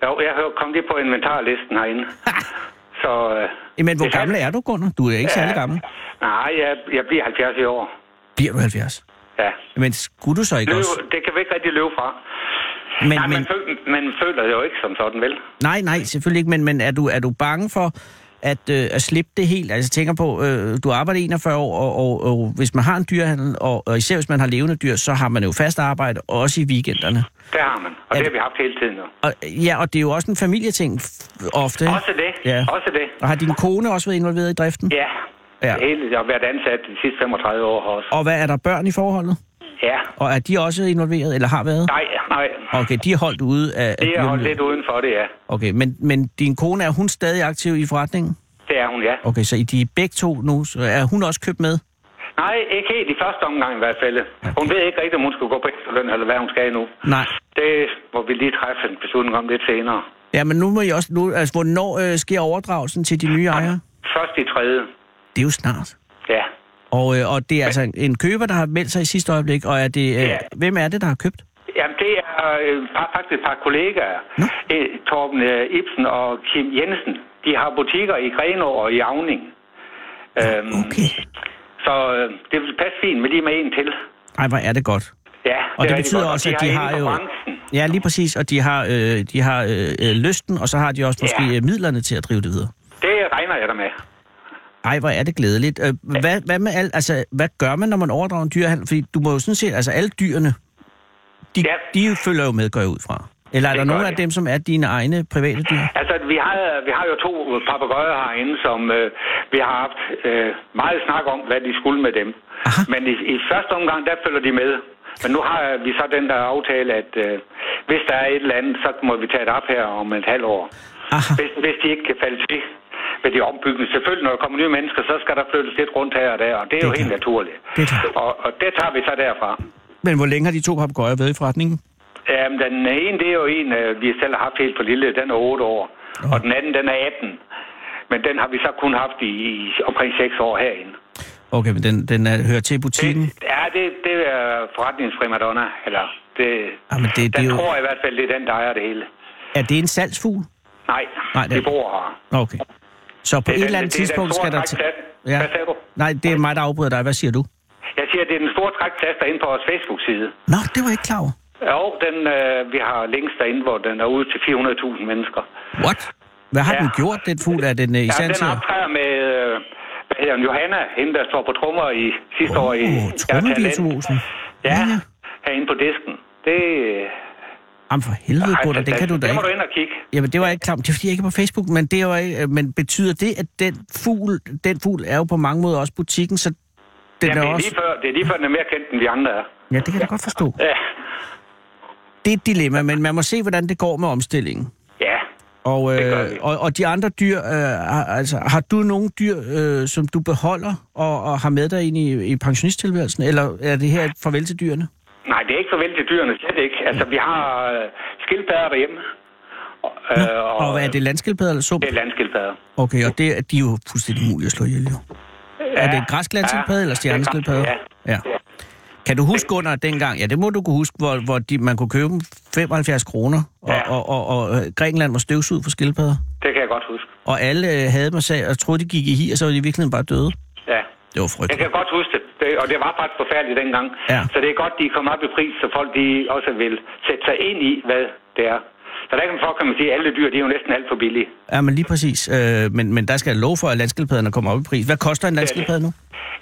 Jo, jeg hør- kom lige på inventarlisten herinde. så, øh, Men hvor Det er gammel er du, Gunnar? Du er ikke særlig gammel. nej, jeg, jeg bliver 70 i år. Bliver du 70? Ja. Men skulle du så ikke Løve, også? det kan vi ikke rigtig løbe fra. Men- Men, nej, men- man, føl, man føler det jo ikke som sådan, vel? Nej, nej, selvfølgelig ikke, men, men er, du, er du bange for, at, øh, at slippe det helt. Altså jeg tænker på, øh, du arbejder 41 år, og, og, og hvis man har en dyrehandel, og, og især hvis man har levende dyr, så har man jo fast arbejde, også i weekenderne. Det har man, Er og det har det- vi haft hele tiden nu. Og, ja, og det er jo også en familieting f- ofte. ikke? Også det, Ja. også det. Og har din kone også været involveret i driften? Ja. Ja. ja. Hele, jeg har været ansat de sidste 35 år også. Og hvad er der børn i forholdet? Ja. Og er de også involveret, eller har været? Nej, nej. Okay, de er holdt ude af... af Det er holdt dyrelivet. lidt uden for det, ja. Okay, men, men din kone, er hun stadig aktiv i forretningen? Det er hun, ja. Okay, så I de er begge to nu, så er hun også købt med? Nej, ikke helt i første omgang i hvert fald. Hun ved ikke rigtigt, om hun skal gå på efterløn, eller hvad hun skal nu. Nej. Det må vi lige træffe en beslutning om lidt senere. Ja, men nu må I også... Nu, altså, hvornår øh, sker overdragelsen til de nye ejere? Først i tredje. Det er jo snart. Ja. Og, øh, og det er altså en, en køber, der har meldt sig i sidste øjeblik, og er det, øh, Ja. hvem er det, der har købt? Jamen, det er øh, par, faktisk et par kollegaer. Nå. Øh, Torben øh, Ibsen og Kim Jensen. De har butikker i Grenaa og i Avning. Øhm, Okay. Så øh, det vil passe fint med lige med en til. Ej, hvor er det godt. Ja, Og det, er det rigtig betyder godt. Og også, at de har inden jo... for branchen. Ja, lige præcis. Og de har, øh, de har øh, øh, lysten, og så har de også måske Ja. ja. midlerne til at drive det videre. Det regner jeg da med. Ej, hvor er det glædeligt. Øh, hvad, hvad, med alt, altså, hvad gør man, når man overdrager en dyrehandel? Fordi du må jo sådan set, altså alle dyrene, de, Ja. de følger jo med, går jeg ud fra. Eller er Det der gør nogen de. af dem, som er dine egne private dyr? Altså, vi har, vi har jo to papegøjer herinde, som øh, vi har haft øh, meget snak om, hvad de skulle med dem. Aha. Men i, i første omgang, der følger de med. Men nu har vi så den der aftale, at øh, hvis der er et eller andet, så må vi tage det op her om et halvt år. Aha. Hvis, hvis de ikke kan falde til ved de ombygninger. Selvfølgelig, når der kommer nye mennesker, så skal der flyttes lidt rundt her og der, og det er Det jo er helt klart. naturligt. Det er klart. og, og det tager vi så derfra. Men hvor længe har de to papegøjer været i forretningen? Jamen, den ene, det er jo en, øh, vi selv har haft helt for lille. Den er 8 år. Og den anden, den er 18. Men den har vi så kun haft i, i omkring 6 år herinde. Okay, men den, den er, hører til i butikken. Det, ja, det, det er forretningsprimadonna. Eller, det, Jamen, Ah, det- det den er jo- tror jeg i hvert fald, det er den, der ejer det hele. Er det en salgsfugl? Nej, Nej, vi det- bor her. Nå, Okay. Så på Det er et den- eller andet det er den tidspunkt store skal der... trækplads. ja. Hvad sagde du? Nej, det er mig, der afbryder dig. Hvad siger du? Jeg siger, det er den store trækplads, der er inde på vores Facebook-side. Nå, det var jeg ikke klar over. Jo, den, øh, vi har links derinde, hvor den er ude til 400.000 mennesker. What? Hvad har Ja. ja. den gjort, den fugl? Er den øh, i Ja, stand den til at... optræder med øh, hvad hedder hun, Johanna, hende der står på trommer i sidste år i... Åh, trommevirtuosen. Ja, Ja, ja. ja, herinde på disken. Det, øh, Jamen for helvede, Gunnar, det kan du da Det må ikke. du ind og kigge. Jamen, det var jeg ikke klar over. Det er fordi, jeg ikke er på Facebook, men, det var ikke, men betyder det, at den fugl, den fugl er jo på mange måder også butikken, så den Jamen, er det, er også... lige før, det er lige før, den er mere kendt, end vi andre er. Ja, det kan jeg da godt forstå. Ja, Det er et dilemma, men man må se, hvordan det går med omstillingen. ja. Og, Det gør øh, vi. og, og de andre dyr, øh, har- altså, har du nogle dyr, øh, som du beholder og, og har med dig ind i, i pensionisttilværelsen, eller er det her et farvel til dyrene? Nej, det er ikke så vel til dyrene, slet ikke. Altså, vi har øh, skildpadder derhjemme. Og, øh, Og hvad er det, landskildpadder eller sump? Det er landskildpadder. Okay, og det, er- de er jo fuldstændig umulige at slå ihjel, jo. Er det græsklandskildpadde eller stjerneskildpadde? Ja. ja. Kan du huske under dengang, ja det må du kunne huske, hvor, hvor de, man kunne købe dem 75 kroner, og, Ja. og, og, og øh, Grækenland var støvsud for skildpadder, Det kan jeg godt huske. og alle øh, havde dem og, sagde, og troede, de gik i hi, og så var de i virkeligheden bare døde. Ja. Det var Jeg frygteligt. kan godt huske det, det og det var faktisk forfærdeligt dengang. Ja. Så det er godt, de kom op i pris, så folk de også vil sætte sig ind i, hvad det er. Så der kan man for, kan man sige, at alle dyr, de er jo næsten alt for billige. Ja, men lige præcis. Øh, men, men der skal jeg love for, at landskildpadderne kommer op i pris. Hvad koster en landskildpadde nu?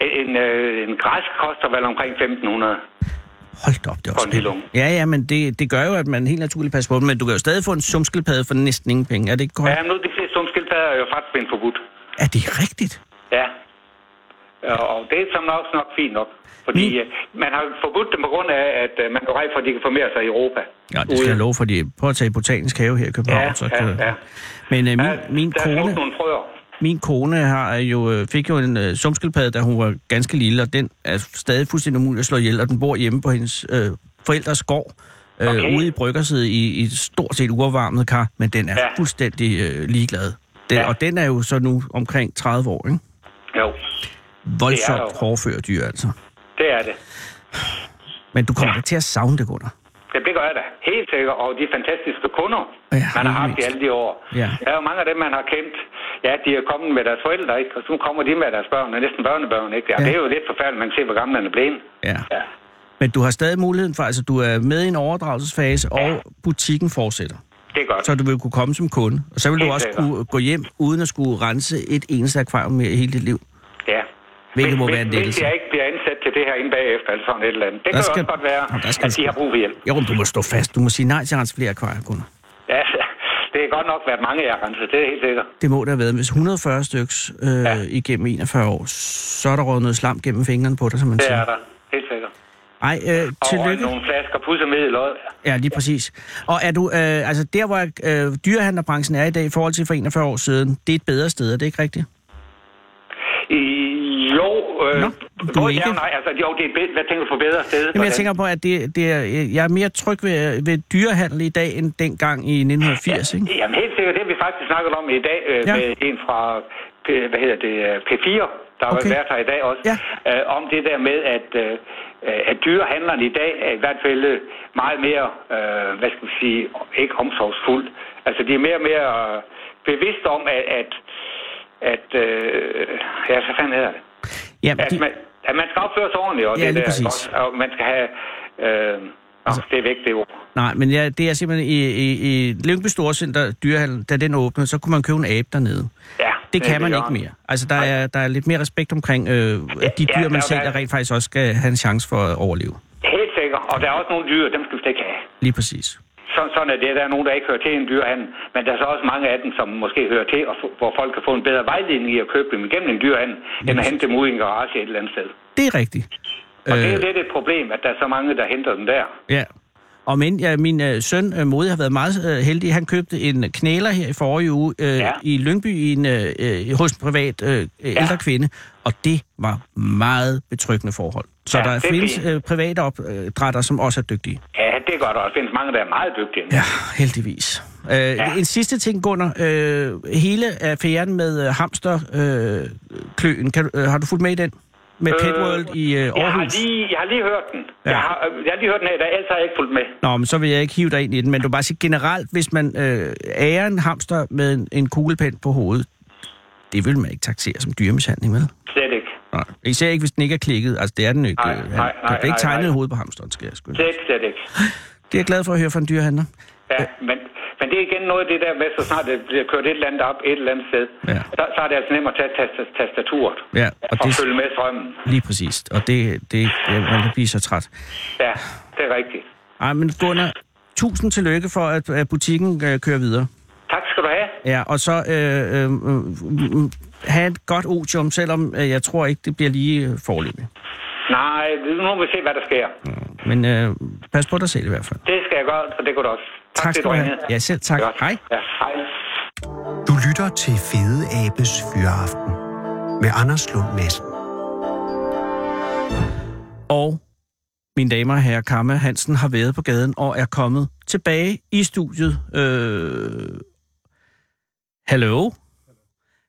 En, en, øh, en græsk koster vel omkring 1.500. Hold da op, det er For også en lille vildt. Ja, ja, men det, det gør jo, at man helt naturligt passer på dem, men du kan jo stadig få en sumskildpadde for næsten ingen penge. Er det ikke korrekt? Ja, nu de fleste sumskildpadder er jo faktisk blevet forbudt. Er det rigtigt? Ja. Og og det er som nok, nok fint nok. Fordi Min- øh, man har forbudt dem på grund af, at øh, man er rejse for, at de kan formere sig i Europa. Ja, det skal Ude. jeg love for, de prøver at tage i botanisk have her i København. Ja, så ja, kan... ja. Men øh, min, Ja, min der er kone, smukt nogle frøer. min kone har jo, øh, fik jo en øh, sumskildpadde, da hun var ganske lille, og den er stadig fuldstændig umulig at slå ihjel, og den bor hjemme på hendes øh, forældres gård, øh, Okay. ude i bryggersiden i, i et stort set uopvarmet kar, men den er Ja. ja. fuldstændig øh, ligeglad. Den, Ja. ja. Og den er jo så nu omkring 30 år, ikke? Jo, Det er Voldsomt jo- hårdfør dyr, altså. det er det. Men du kommer ja. til at savne det, Gunnar. Ja, det gør jeg da. Helt sikkert. Og de fantastiske kunder, Ja, man har ikke haft i mindst. alle de år. Ja. Der er jo mange af dem, man har kendt. Ja, de er kommet med deres forældre, ikke? Og så kommer de med deres børn, og næsten børnebørn, ikke? Ja, Ja. Det er jo lidt forfærdeligt, man kan se, hvor gammel man er blevet. Ja. Ja. Men du har stadig muligheden for, altså du er med i en overdragelsesfase, og butikken fortsætter. Det er godt. så du vil kunne komme som kunde. Og så vil du Helt også sikkert. kunne gå hjem uden at skulle rense et eneste akvarium mere i hele dit liv. Ja. Hvilket må Hvis- være en hvis- lettelse. Hvis jeg ikke bliver ansat til det her inde bagefter, eller sådan et eller andet. Det Der kan skal- også godt være, Nå, der skal at du de sgu- har brug for hjælp. Jo, men du må stå fast. Du må sige nej til at rense flere akvariekunder. Ja, det er godt nok været mange, jeg har renset. Det er helt sikkert. Det må der have været. Hvis 140 styks øh, ja. igennem 41 år, så er der råd noget slam gennem fingrene på dig, som man Det er siger. der. Helt sikkert. Ej, øh, Og tillykke. nogle flasker pudsemiddel også. Ja, lige præcis. Og er du, øh, altså der, hvor øh, dyrehandlerbranchen er i dag i forhold til for 41 år siden, det er et bedre sted, er det ikke rigtigt? I, jo, øh, Nå, du er både ja og ikke- nej. Altså, jo, det er et bed- Hvad tænker du på bedre sted? Jamen, jeg tænker på, at det, det er, jeg er mere tryg ved, øh, ved dyrehandel i dag, end dengang i 1980, ikke? Jamen helt sikkert, det har vi faktisk snakket om i dag øh, Ja. ja. med en fra P, hvad hedder det, øh, P4, der har Okay. okay. været her i dag også, Ja. øh, om det der med, at, øh, at dyrehandlerne i dag er i hvert fald øh, meget mere, øh, hvad skal vi sige, ikke omsorgsfuldt. Altså de er mere og mere øh, bevidste om, at, at, at øh, ja, så fanden hedder det, Ja, at man, at man skal opføre sig ordentligt, og Ja, det lige der, præcis. også, og man skal have, øh, altså, det er væk det ord. nej, men ja, det er simpelthen i, i, i Lyngby Storcenter, dyrehandel, da den åbnede, så kunne man købe en abe dernede. Ja, Det kan man er ikke det. mere. Altså, der er, der er lidt mere respekt omkring, øh, at de Ja, dyr, man der- sælger, der- rent faktisk også skal have en chance for at overleve. Helt sikkert. Og der er også nogle dyr, dem skal vi slet ikke have. Lige præcis. Sådan, sådan er det. Der er nogen, der ikke hører til i en dyrehandel, men der er så også mange af dem, som måske hører til, og f- hvor folk kan få en bedre vejledning i at købe dem igennem en dyrehandel, end at hente dem ud i en garage et eller andet sted. Det er rigtigt. Og det er jo Øh. lidt et problem, at der er så mange, der henter dem der. Ja. Og men, ja, min øh, søn øh, Modi har været meget øh, heldig. Han købte en knæler her i forrige uge øh, ja. Ja. i Lyngby i en, øh, øh, hos en privat øh, ældre kvinde, og det var meget betryggende forhold. Så ja, Ja, der det er findes fint. øh, private opdrætter, som også er dygtige. Ja, det er godt, og der findes mange, der er meget dygtige. Ja, heldigvis. Øh, ja. En sidste ting, Gunnar. Øh, hele affæren med øh, hamsterkløen, øh, kløen, kan, du- øh, har du fulgt med i den? Med øh, Pet World i øh, Jeg har, Aarhus? lige, jeg har lige hørt den. Ja. Ja. Jeg, har, øh, jeg har lige hørt den af, der ellers har jeg ikke fulgt med. Nå, men så vil jeg ikke hive dig ind i den, men du kan bare sige generelt, hvis man øh, ærer en hamster med en, en kuglepen på hovedet, det vil man ikke taksere som dyremishandling, vel? Slet ikke. Nej. Især ikke, hvis den ikke er klikket. Altså, det er den ikke. Nej, Øh, han- nej, der nej, bliver ikke nej, tegnet nej. hoved på hamsteren, skal jeg skynde. Det... Slet, slet ikke. det er jeg glad for at høre fra en dyrehandler. Ja, men, men det er igen noget af det der med, så snart det bliver kørt et eller andet op et eller andet sted, Ja. så, så er det altså nemmere at tage tas- tastaturet Ja, og for det- at følge med strømmen. Lige præcis. Og det, det, det man kan blive så træt. Ja, det er rigtigt. Ej, men Gunnar, tusind tillykke for, at, at butikken øh, kører videre. Tak skal du have. Ja, og så øh, øh, øh, øh, have et godt otium, selvom øh, jeg tror ikke, det bliver lige øh, forløbigt. Nej, nu må vi se, hvad der sker. Men øh, pas på dig selv i hvert fald. Det skal jeg gøre, og det går du også. Tak fordi skal du have. ringede. Ja, selv tak. Godt. Hej. Ja, hej. Du lytter til Fede Abes Fyraften med Anders Lund Madsen. Og mine damer og herrer, Karma Hansen har været på gaden og er kommet tilbage i studiet. Øh, hello?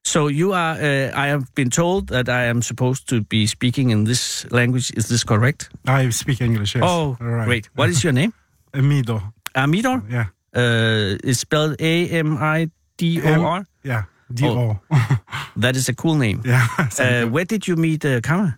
So you are, uh, I have been told that I am supposed to be speaking in this language. Is this correct? I speak English, yes. Oh, great. What is your name? Amido, Amidor? yeah. Uh, it's spelled A-M-I-D-O-R. Yeah, D-O. Oh. That is a cool name. yeah. Uh, thank you. where did you meet uh, Karma?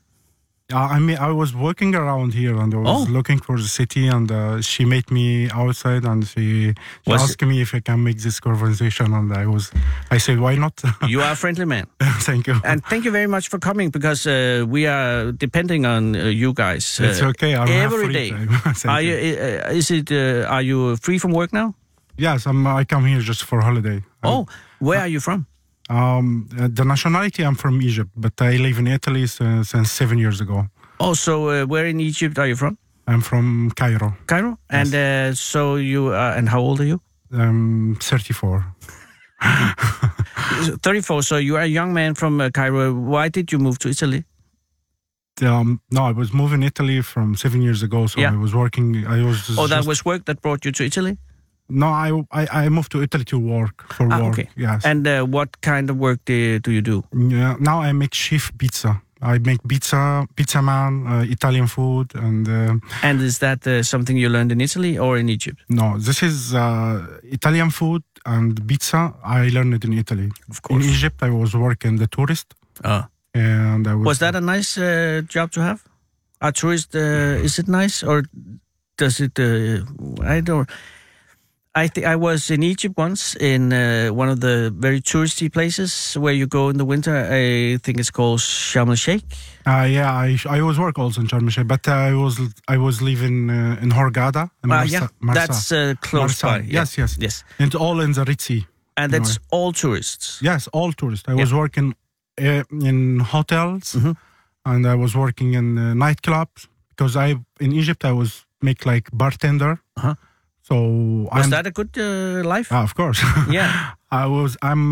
Uh, I mean, I was walking around here and I was Oh. looking for the city and uh, she met me outside and she, she Was- asked me if I can make this conversation and I was, I said, why not? You are a friendly man. thank you. and thank you very much for coming because uh, we are depending on uh, you guys. Uh, It's okay, I will have every free day. time. Thank are you, you. uh, is it? Uh, are you free from work now? yes, I'm, I come here just for holiday. oh, where are you from? Um, uh, the nationality, I'm from Egypt, but I live in Italy since, since seven years ago. Oh, so uh, where in Egypt are you from? I'm from Cairo. Cairo. And uh, so you are. And how old are you? I'm 34. Thirty-four. So you are a young man from uh, Cairo. Why did you move to Italy? um no i was moving italy from seven years ago so Yeah. i was working i was Oh, that just- was work that brought you to Italy. no I, I i moved to italy to work for Ah, work okay. yes And and uh, what kind of work do, do you do? yeah, now i make chef pizza i make pizza pizza man uh, italian food and uh, And is that uh, something you learned in Italy or in Egypt? no this is uh, italian food and pizza i learned it in italy Of in egypt i was working the tourist Uh, and i was, Was that a nice uh, job to have? A tourist, uh, is it nice or does it? Uh, I don't. I th- I was in Egypt once in uh, one of the very touristy places where you go in the winter. I think it's called Sharm el Sheikh. Uh, yeah, I I always work also in Sharm el Sheikh, but I was I was living uh, in Hurghada in Ah, Marsa, yeah, Marsa. that's uh, close Marsa. by. yeah. Yes, yes, yes, And all in the Red Sea. and No, that's all tourists. Yes, all tourists. I was working uh, in hotels, Mm-hmm. and I was working in uh, nightclubs because I in Egypt I was make like bartender. Uh-huh. So Was I'm, that a good uh, life? Ah, of course. Yeah. I was. I'm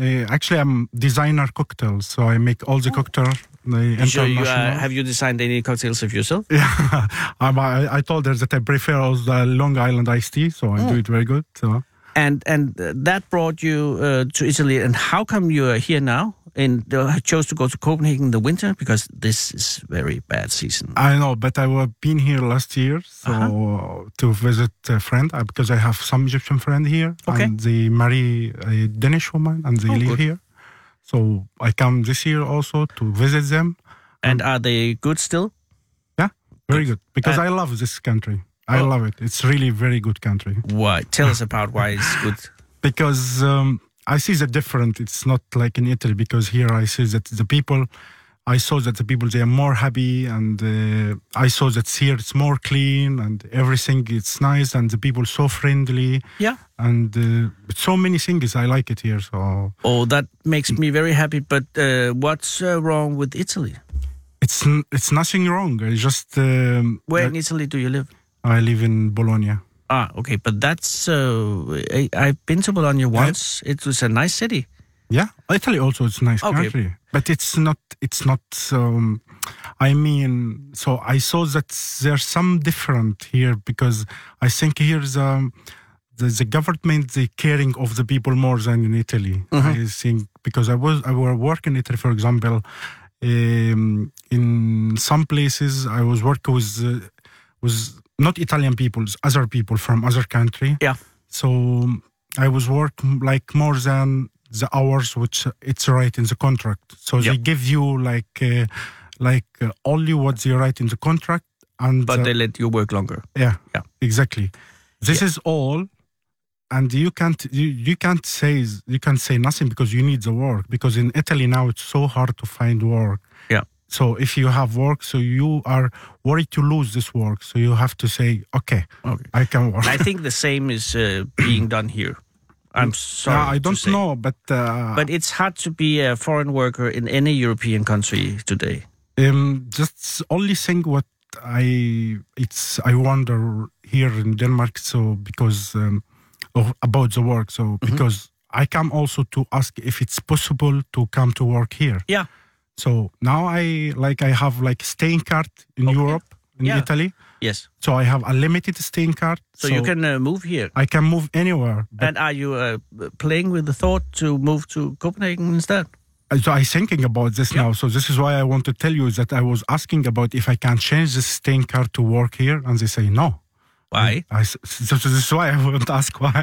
uh, actually I'm designer cocktails, so I make all the cocktail. The so Oh. you, uh, international. have you designed any cocktails of yourself? Yeah, I'm, I, I told her that I prefer also the Long Island iced tea, so Mm. I do it very good. So and and uh, that brought you uh, to Italy. And how come you are here now? And uh, chose to go to Copenhagen in the winter because this is very bad season. I know, but I was been here last year, so Uh-huh. to visit a friend uh, because I have some Egyptian friend here, Okay. and they marry a Danish woman, and they Oh, live good. here. So I come this year also to visit them. and are they good still? Yeah, very Good. good because And- I love this country. I Oh. love it. It's really very good country. Why? Tell us about why it's good. because um, I see the different. It's not like in Italy because here I see that the people, I saw that the people they are more happy, and uh, I saw that here it's more clean and everything it's nice, and the people so friendly, Yeah. and uh, so many things I like it here. So Oh, that makes me very happy. But uh, what's uh, wrong with Italy? it's n- it's nothing wrong. I just um, Where I- in Italy do you live? I live in Bologna. Ah, okay. But that's uh, I, I've been to Bologna once. It was a nice city. Yeah, Italy also is a nice Okay. country, but it's not. It's not. Um, I mean, so I saw that there's some different here because I think here's um, the the government the caring of the people more than in Italy. I think because I was I were working in Italy, for example, um, in some places I was working with uh, with not Italian people, other people from other country. Yeah. So um, I was working like more than the hours which uh, it's right in the contract. So they Yep. give you like uh, like uh, only what they write in the contract, and But uh, they let you work longer. yeah, Yeah. exactly. This is all, and you can't you, you can't say you can't say nothing because you need the work because in Italy now it's so hard to find work. Yeah. So if you have work, so you are worried to lose this work, so you have to say, okay, Okay. I can work. I think the same is uh, being done here. I'm sorry. Yeah, I to don't say. know, but uh, But it's hard to be a foreign worker in any European country today. Um, just only thing what I it's I wonder here in Denmark. So because um, of, about the work. So Mm-hmm. because I come also to ask if it's possible to come to work here. Yeah. So now I like I have like staying card in Europe in Yeah. Italy. Yes. So I have a limited staying card. So, you can uh, move here. I can move anywhere. But And are you uh, playing with the thought to move to Copenhagen instead? Uh, so I'm thinking about this now. So this is why I want to tell you that I was asking about if I can change the staying card to work here, and they say no. Why? I, s- so this is why I wouldn't ask why.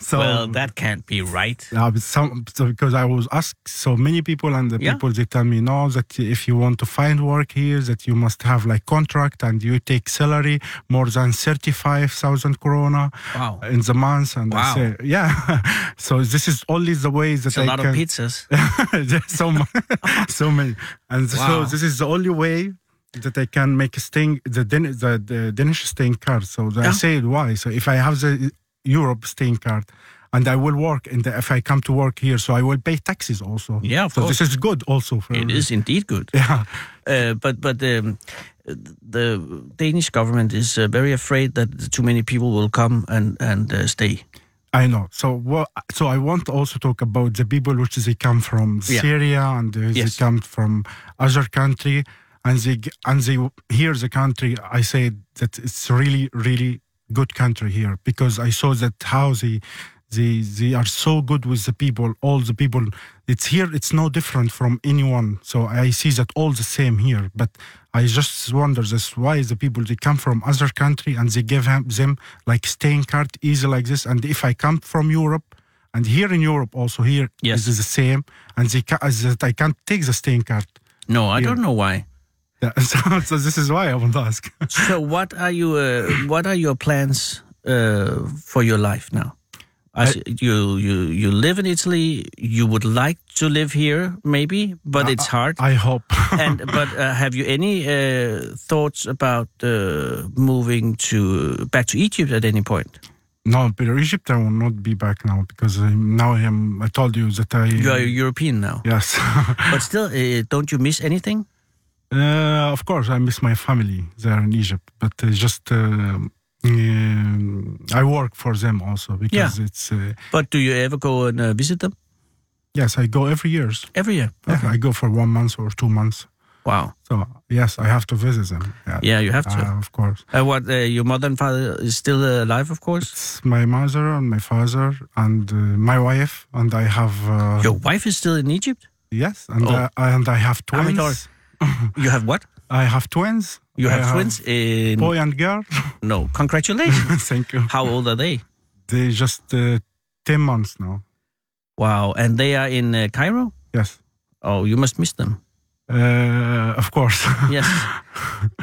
so, well, that can't be right. uh, but some, so because I was asked so many people, and the Yeah. people they tell me no that if you want to find work here, that you must have like contract and you take salary more than thirty five thousand corona Wow. in the month. And Wow. I say yeah. so this is only the way that It's a I lot can. of pizzas. There's so much, so many, and Wow. so this is the only way that I can make a staying the Den- the, the Danish staying card. So I Yeah. said why. So if I have the Europe staying card, and I will work, and if I come to work here, so I will pay taxes also. Yeah, of so course. this is good also for It is indeed good. Yeah, Uh, but but um, the Danish government is uh, very afraid that too many people will come and and uh, stay. I know. So what? So I want to also talk about the people which they come from Yeah. Syria and uh, Yes. they come from other country, and they g- and they here the country. I say that it's really really good country here because I saw that how they. They, they are so good with the people all the people it's here it's no different from anyone so i see that all the same here but i just wonder this why the people they come from other country and they give hem- them like staying card easy like this and if i come from europe and here in europe also here is Yes. the same and they ca- is that i can't take the staying card No, I don't know why. Yeah, so, so this is why i want to ask So what are you? Uh, what are your plans uh, uh, for your life now? As you, you, you live in Italy. You would like to live here, maybe, but Uh, it's hard. I hope. and but uh, have you any uh, thoughts about uh, moving to back to Egypt at any point? no, but Egypt, I will not be back now because I, now I am. I told you that I. You are European now, Yes. but still, uh, don't you miss anything? Uh, of course, I miss my family there in Egypt, but uh, just uh, um, I work for them also because it's uh, But do you ever go and uh, visit them yes, I go every year. every year? Yeah, I go for one month or two months. Wow. So yes, I have to visit them. Yeah, Yeah, you have to. Uh, of course. Uh, what uh, your mother and father is still uh, alive, of course. It's my mother and my father and uh, my wife, and I have uh, Your wife is still in Egypt. yes, and Oh. I, and I have How many twins. daughters? You have what? I have twins. You I have twins in boy and girl. no. Congratulations. Thank you. How old are they? They just uh, ten months now. Wow, and they are in uh, Cairo. Yes. Oh, you must miss them. Uh, of course. Yes,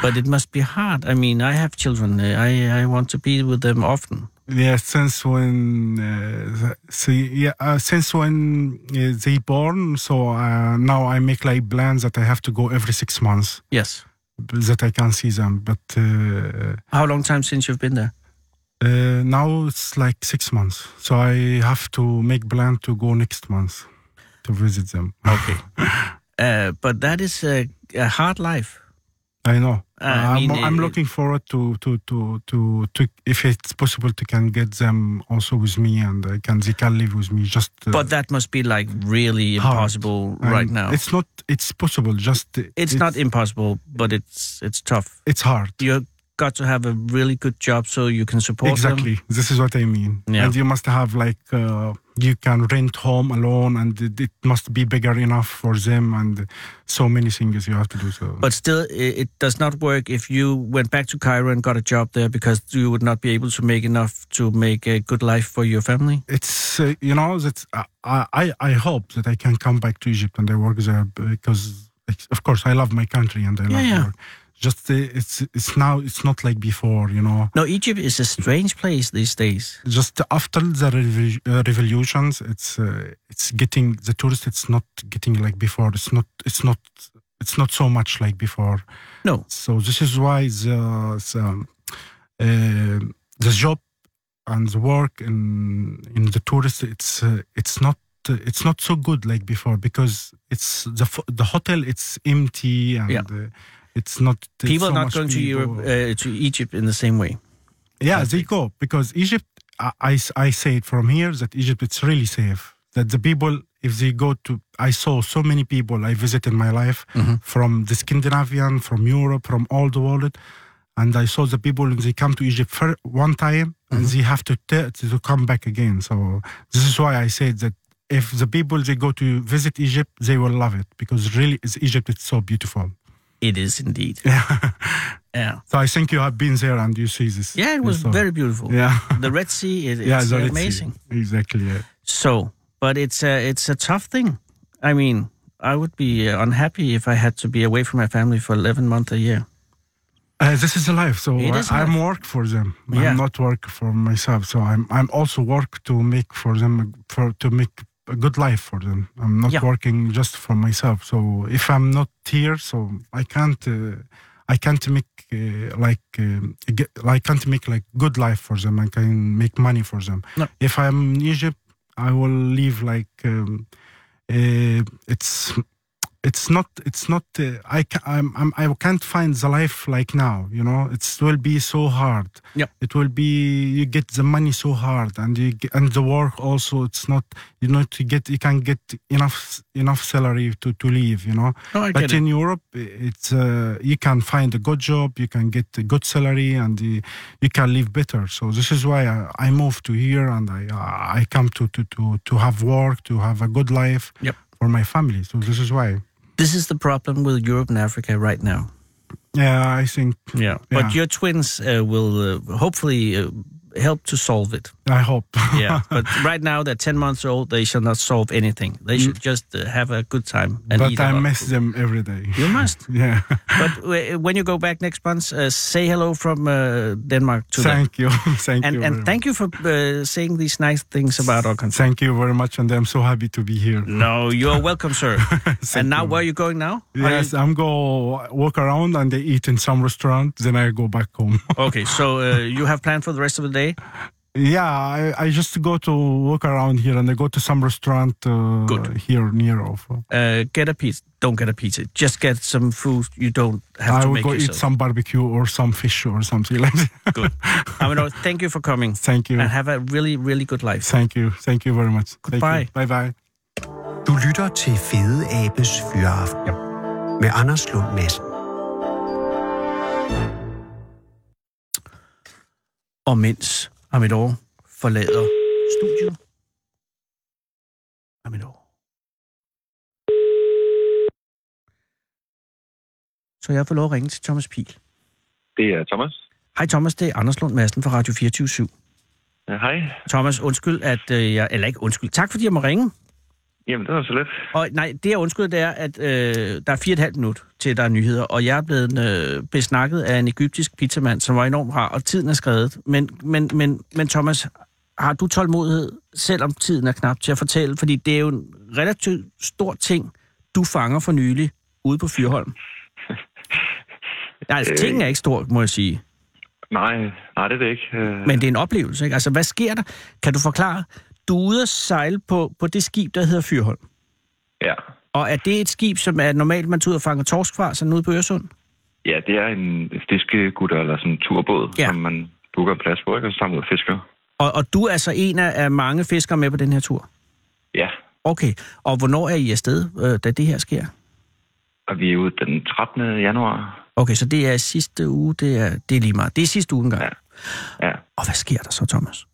but it must be hard. I mean, I have children. Uh, I I want to be with them often. yeah, since when? Uh, see, yeah, uh, since when uh, they born? So uh, now I make like plans that I have to go every six months Yes. that I can see them. But uh, How long time since you've been there? uh, now it's like six months, so I have to make plan to go next month to visit them. Okay, Uh, but that is a, a hard life. I know. I I'm, mean, I'm uh, looking forward to to, to to to if it's possible to can get them also with me and I can they can live with me just. uh, But that must be like really Hard. impossible And right now. It's, It's not. It's possible. Just it's, not impossible, but it's it's tough. It's hard. You got to have a really good job so you can support them. Exactly. This is what I mean. Yeah. And you must have like uh, you can rent home alone, and it, it must be bigger enough for them, and so many things you have to do. So Mm. But still, it, it does not work if you went back to Cairo and got a job there because you would not be able to make enough to make a good life for your family. it's uh, you know that I, I I hope that I can come back to Egypt and I work there because like, of course I love my country and I love yeah. work. Just uh, it's it's now it's not like before. You know. No, Egypt is a strange place these days. just after the revo- uh, revolutions it's uh, it's getting the tourist it's not getting like before it's not it's not it's not so much like before No. so this is why the the, uh, the job and the work in in the tourist it's uh, it's not uh, it's not so good like before because it's the fo- the hotel it's empty and Yeah. uh, it's not it's people so are not much going to people. Europe uh, to Egypt in the same way. Yeah, they go because Egypt. I, I s- I say it from here that Egypt it's really safe. That the people, if they go to, I saw so many people I visited in my life Mm-hmm. from the Scandinavian, from Europe, from all the world, and I saw the people and they come to Egypt for one time and Mm-hmm. they have to t- to come back again. So this is why I said that if the people they go to visit Egypt, they will love it because really it's Egypt it's so beautiful. It is indeed. Yeah. yeah. So I think you have been there and you see this. it you was saw. very beautiful. uh, Yeah. The Red Sea is yeah, it's the Red Sea. amazing. Exactly. Yeah. So, but it's a, it's a tough thing. I mean, I would be uh, unhappy if I had to be away from my family for 11 months a year. Uh, this is a life, so It I, is I'm life. work for them. Yeah. I'm not work for myself, so I'm I'm also work to make for them for to make a good life for them. I'm not Yeah. working just for myself. So if I'm not here, so I can't uh, I can't make uh, like um, get, I can't make like good life for them. I can make money for them. No. If I'm in Egypt, I will live like um, uh, it's it's not it's not uh, I ca- I'm, I'm I can't find the life like now you know it will be so hard Yep. it will be you get the money so hard and you get, and the work also it's not you know to get you can get enough enough salary to to live you know No, I but get it. in Europe it's uh, you can find a good job you can get a good salary and you, you can live better so this is why I, I moved to here and I I come to to to to have work to have a good life Yep. for my family so this is why This is the problem with Europe and Africa right now. Yeah, I think. Yeah. But Yeah. your twins uh, will uh, hopefully uh, help to solve it. I hope. Yeah, but right now they're 10 months old. They shall not solve anything. They should just uh, have a good time and eat but a I lot of miss food. them every day. You must. Yeah. but w- when you go back next month, uh, say hello from uh, Denmark to them. Thank you. Thank And, you. and very thank you for uh, saying these nice things about our much. country. Thank you very much, and I'm so happy to be here. No, you are welcome, sir. and now, where are you going now? Are you- Yes, I'm go walk around and I eat in some restaurant, then I go back home. Okay, so uh, you have planned for the rest of the day? yeah, I, I just go to walk around here and I go to some restaurant uh, Good. here near of. Uh, get a pizza. Don't get a pizza. Just get some food you don't have I to will make go yourself. eat some barbecue or some fish or something like that. Good. I mean, thank you for coming. Thank you. And have a really, really good life. Thank you. Thank you very much. Goodbye. Bye bye. Du lytter til Fede Abes Fyraften med Anders Lund Madsen. Og mens om et år forlader studiet. Om et år. Så jeg får lov at ringe til Thomas Pil. Det er Thomas. Hej Thomas, det er Anders Lund Madsen fra Radio 24 Ja, hej. Thomas, undskyld, at øh, jeg... Eller ikke undskyld. Tak, fordi jeg må ringe. Jamen, det var så let. Og nej, det jeg undskyld, det er, at øh, der er fire og et halvt minut til, der er nyheder, og jeg er blevet øh, besnakket af en egyptisk pizzamand, som var enormt rar, og tiden er skrevet. Men, men, men, men Thomas, har du tålmodighed, selvom tiden er knap til at fortælle? Fordi det er jo en relativt stor ting, du fanger for nylig ude på Fyrholm. Nej, altså, Øh. tingen er ikke stor, må jeg sige. Nej, nej, det er det ikke. Øh, Men det er en oplevelse, ikke? Altså, hvad sker der? Kan du forklare? Du er ude at sejle på, på det skib, der hedder Fyrholm. Ja. Og er det et skib, som er normalt, man tager ud og fanger torsk fra, sådan ude på Øresund? ja, det er en fiskegutter eller sådan en turbåd, Ja. ja. som man booker en plads på, ikke? Og så tager man ud og fisker. Og, og du er så en af, af mange fiskere med på den her tur? Ja, Okay. Og hvornår er I afsted, øh, da det her sker? og vi er ude den 13. januar. Okay, så det er sidste uge, det er, det er lige meget. Det er sidste uge engang. Ja. Ja. Ja. Og hvad sker der så, Thomas?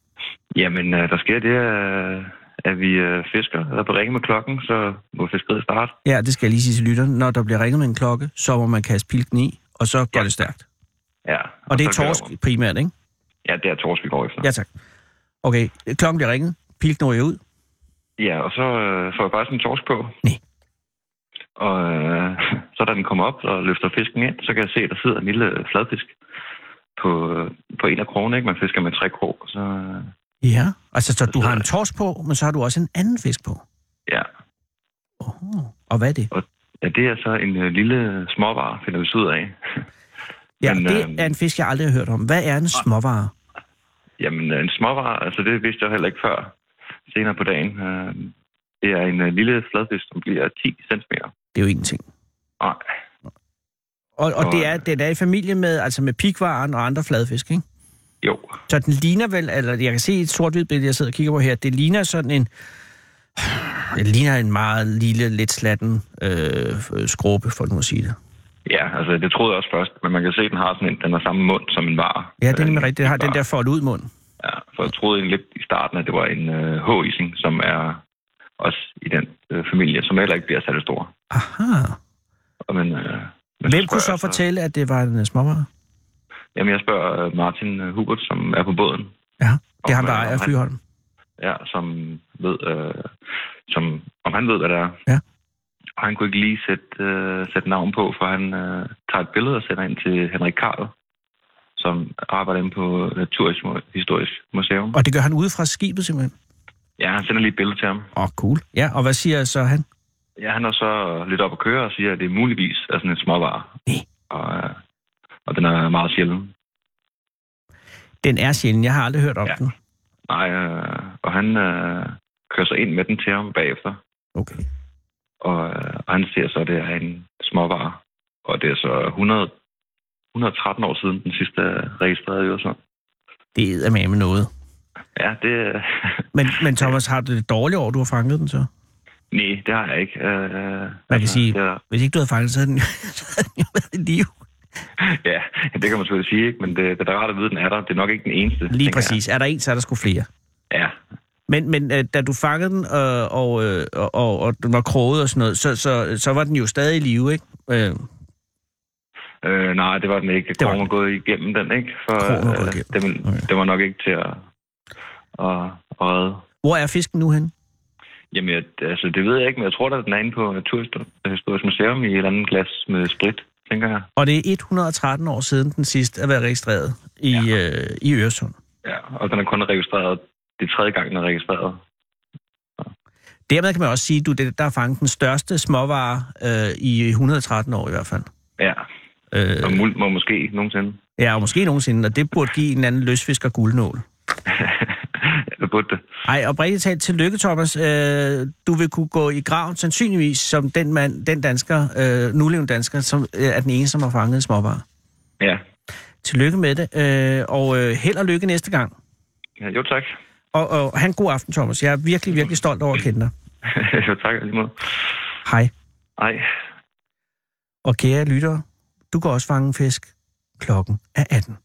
Jamen, øh, der sker det, øh, at vi øh, fisker, eller på ringe med klokken, så må fiskeriet starte. Ja, det skal jeg lige sige til lytteren. Når der bliver ringet med en klokke, så må man kaste pilken i, og så går ja. Ja. det stærkt. Ja. Og, og det er så kører torsk vi. primært, ikke? Ja, det er torsk, vi går efter. Ja, tak. Okay, klokken bliver ringet. Pilken ryger ud. Ja, og så øh, får jeg bare sådan en torsk på. Nej. Og øh, så da den kommer op og løfter fisken ind, så kan jeg se, at der sidder en lille øh, fladfisk på, øh, på en af krogene. Ikke? Man fisker med tre krog, så øh, Ja. Altså, så du har en torsk på, men så har du også en anden fisk på. ja. Oh. Og hvad er det? ja. det er så en øh, lille småvare, finder vi så ud af. Ja, Men, det øhm, er en fisk, jeg aldrig har hørt om. Hvad er en småvare? Jamen, øh, en småvare, altså det vidste jeg heller ikke før senere på dagen. Øh, det er en øh, lille fladfisk, som bliver 10 cm. Det er jo ingenting. Nej, Og, og Og, det er, øh, den er i familie med, altså med pikvaren og andre fladfisk, ikke? jo. Så den ligner vel, eller jeg kan se et sort-hvidt billede, jeg sidder og kigger på her, det ligner sådan en, det ligner en meget lille, lidt slatten øh, øh, skråbe, for nu at sige det. Ja, altså det troede jeg også først, men man kan se, at den har sådan en, den har samme mund som en vare. Ja, det er nemlig Øh, rigtigt. Det har en den vare. der foldet ud mund. Ja, for jeg troede egentlig lidt i starten, at det var en øh, H-ising, som er også i den øh, familie, som heller ikke bliver særlig stor. Aha. Og Men, øh, men Hvem spørger kunne så jeg altså- fortælle, at det var en øh, småvare? Jamen, jeg spørger øh, Martin øh, Hubert, som er på båden. Ja, det er Om, ham, der øh, ejer om han- Flyholm. Ja, som ved, øh, som, om han ved, hvad det er. Ja. Og han kunne ikke lige sætte, øh, sætte navn på, for han øh, tager et billede og sender ind til Henrik Karl, som arbejder inde på Naturhistorisk Museum. Og det gør han ude fra skibet simpelthen. Ja, han sender lige et billede til ham. Åh, oh, cool. Ja, og hvad siger så han? Ja, han er så lidt op at køre og siger, at det muligvis er sådan en småvare. Nej. Og, øh, og den er meget sjælden. Den er sjældent. Jeg har aldrig hørt om ja. Ja. den. Nej, øh, og han øh, kører så ind med den til ham bagefter. Okay. Og, øh, og han ser så, at det er en småvare. Og det er så 100, 113 år siden den sidste er registreret i Øresund. Det er med noget. Ja, det... øh, Men, men Thomas, har du det dårlige år, du har fanget den så? Nej, det har jeg ikke. Øh, Man kan sige, det er, hvis ikke du havde fanget, så havde den så havde den jo været i live. ja, det kan man selvfølgelig sige, ikke? men det, det er da rart at vide, at den er der. Det er nok ikke den eneste. Lige tænker jeg. præcis. Er der en, så er der sgu flere. Ja, Men, men øh, da du fangede den, øh, og, øh, og, og, og den var kroget og sådan noget, så, så, så var den jo stadig i live, ikke? Øh, Øh, nej, det var den ikke. Det var Krogen var gået igennem den, ikke? For, Krogen var gået igennem. den, Okay. den var nok ikke til at, at, at redde. Hvor er fisken nu hen? Jamen, jeg, altså, det ved jeg ikke, men jeg tror, at den er inde på Naturhistorisk Museum i et eller andet glas med sprit, tænker jeg. Og det er 113 år siden den sidste er været registreret i, ja. øh, i Øresund. Ja, og den er kun registreret. Det er tredje gang, den er registreret. Dermed kan man også sige, at du er det, der har fanget den største småvare øh, i 113 år i hvert fald. Ja, og Øh, mul- må måske nogensinde. ja, og måske nogensinde, og det burde give en anden løsfisker guldnål. Eller burde det. Ej, oprigtigt talt, tillykke, Thomas. Øh, du vil kunne gå i graven sandsynligvis som den mand, den dansker, øh, nulevende dansker, som øh, er den ene, som har fanget småvarer. Ja. Tillykke med det, øh, og øh, held og lykke næste gang. ja jo, tak. Og, og han god aften, Thomas. Jeg er virkelig, virkelig stolt over at kende dig. jo, tak lige måde. Hej. Ej. Og kære lyttere, du kan også fange en fisk. Klokken er 18.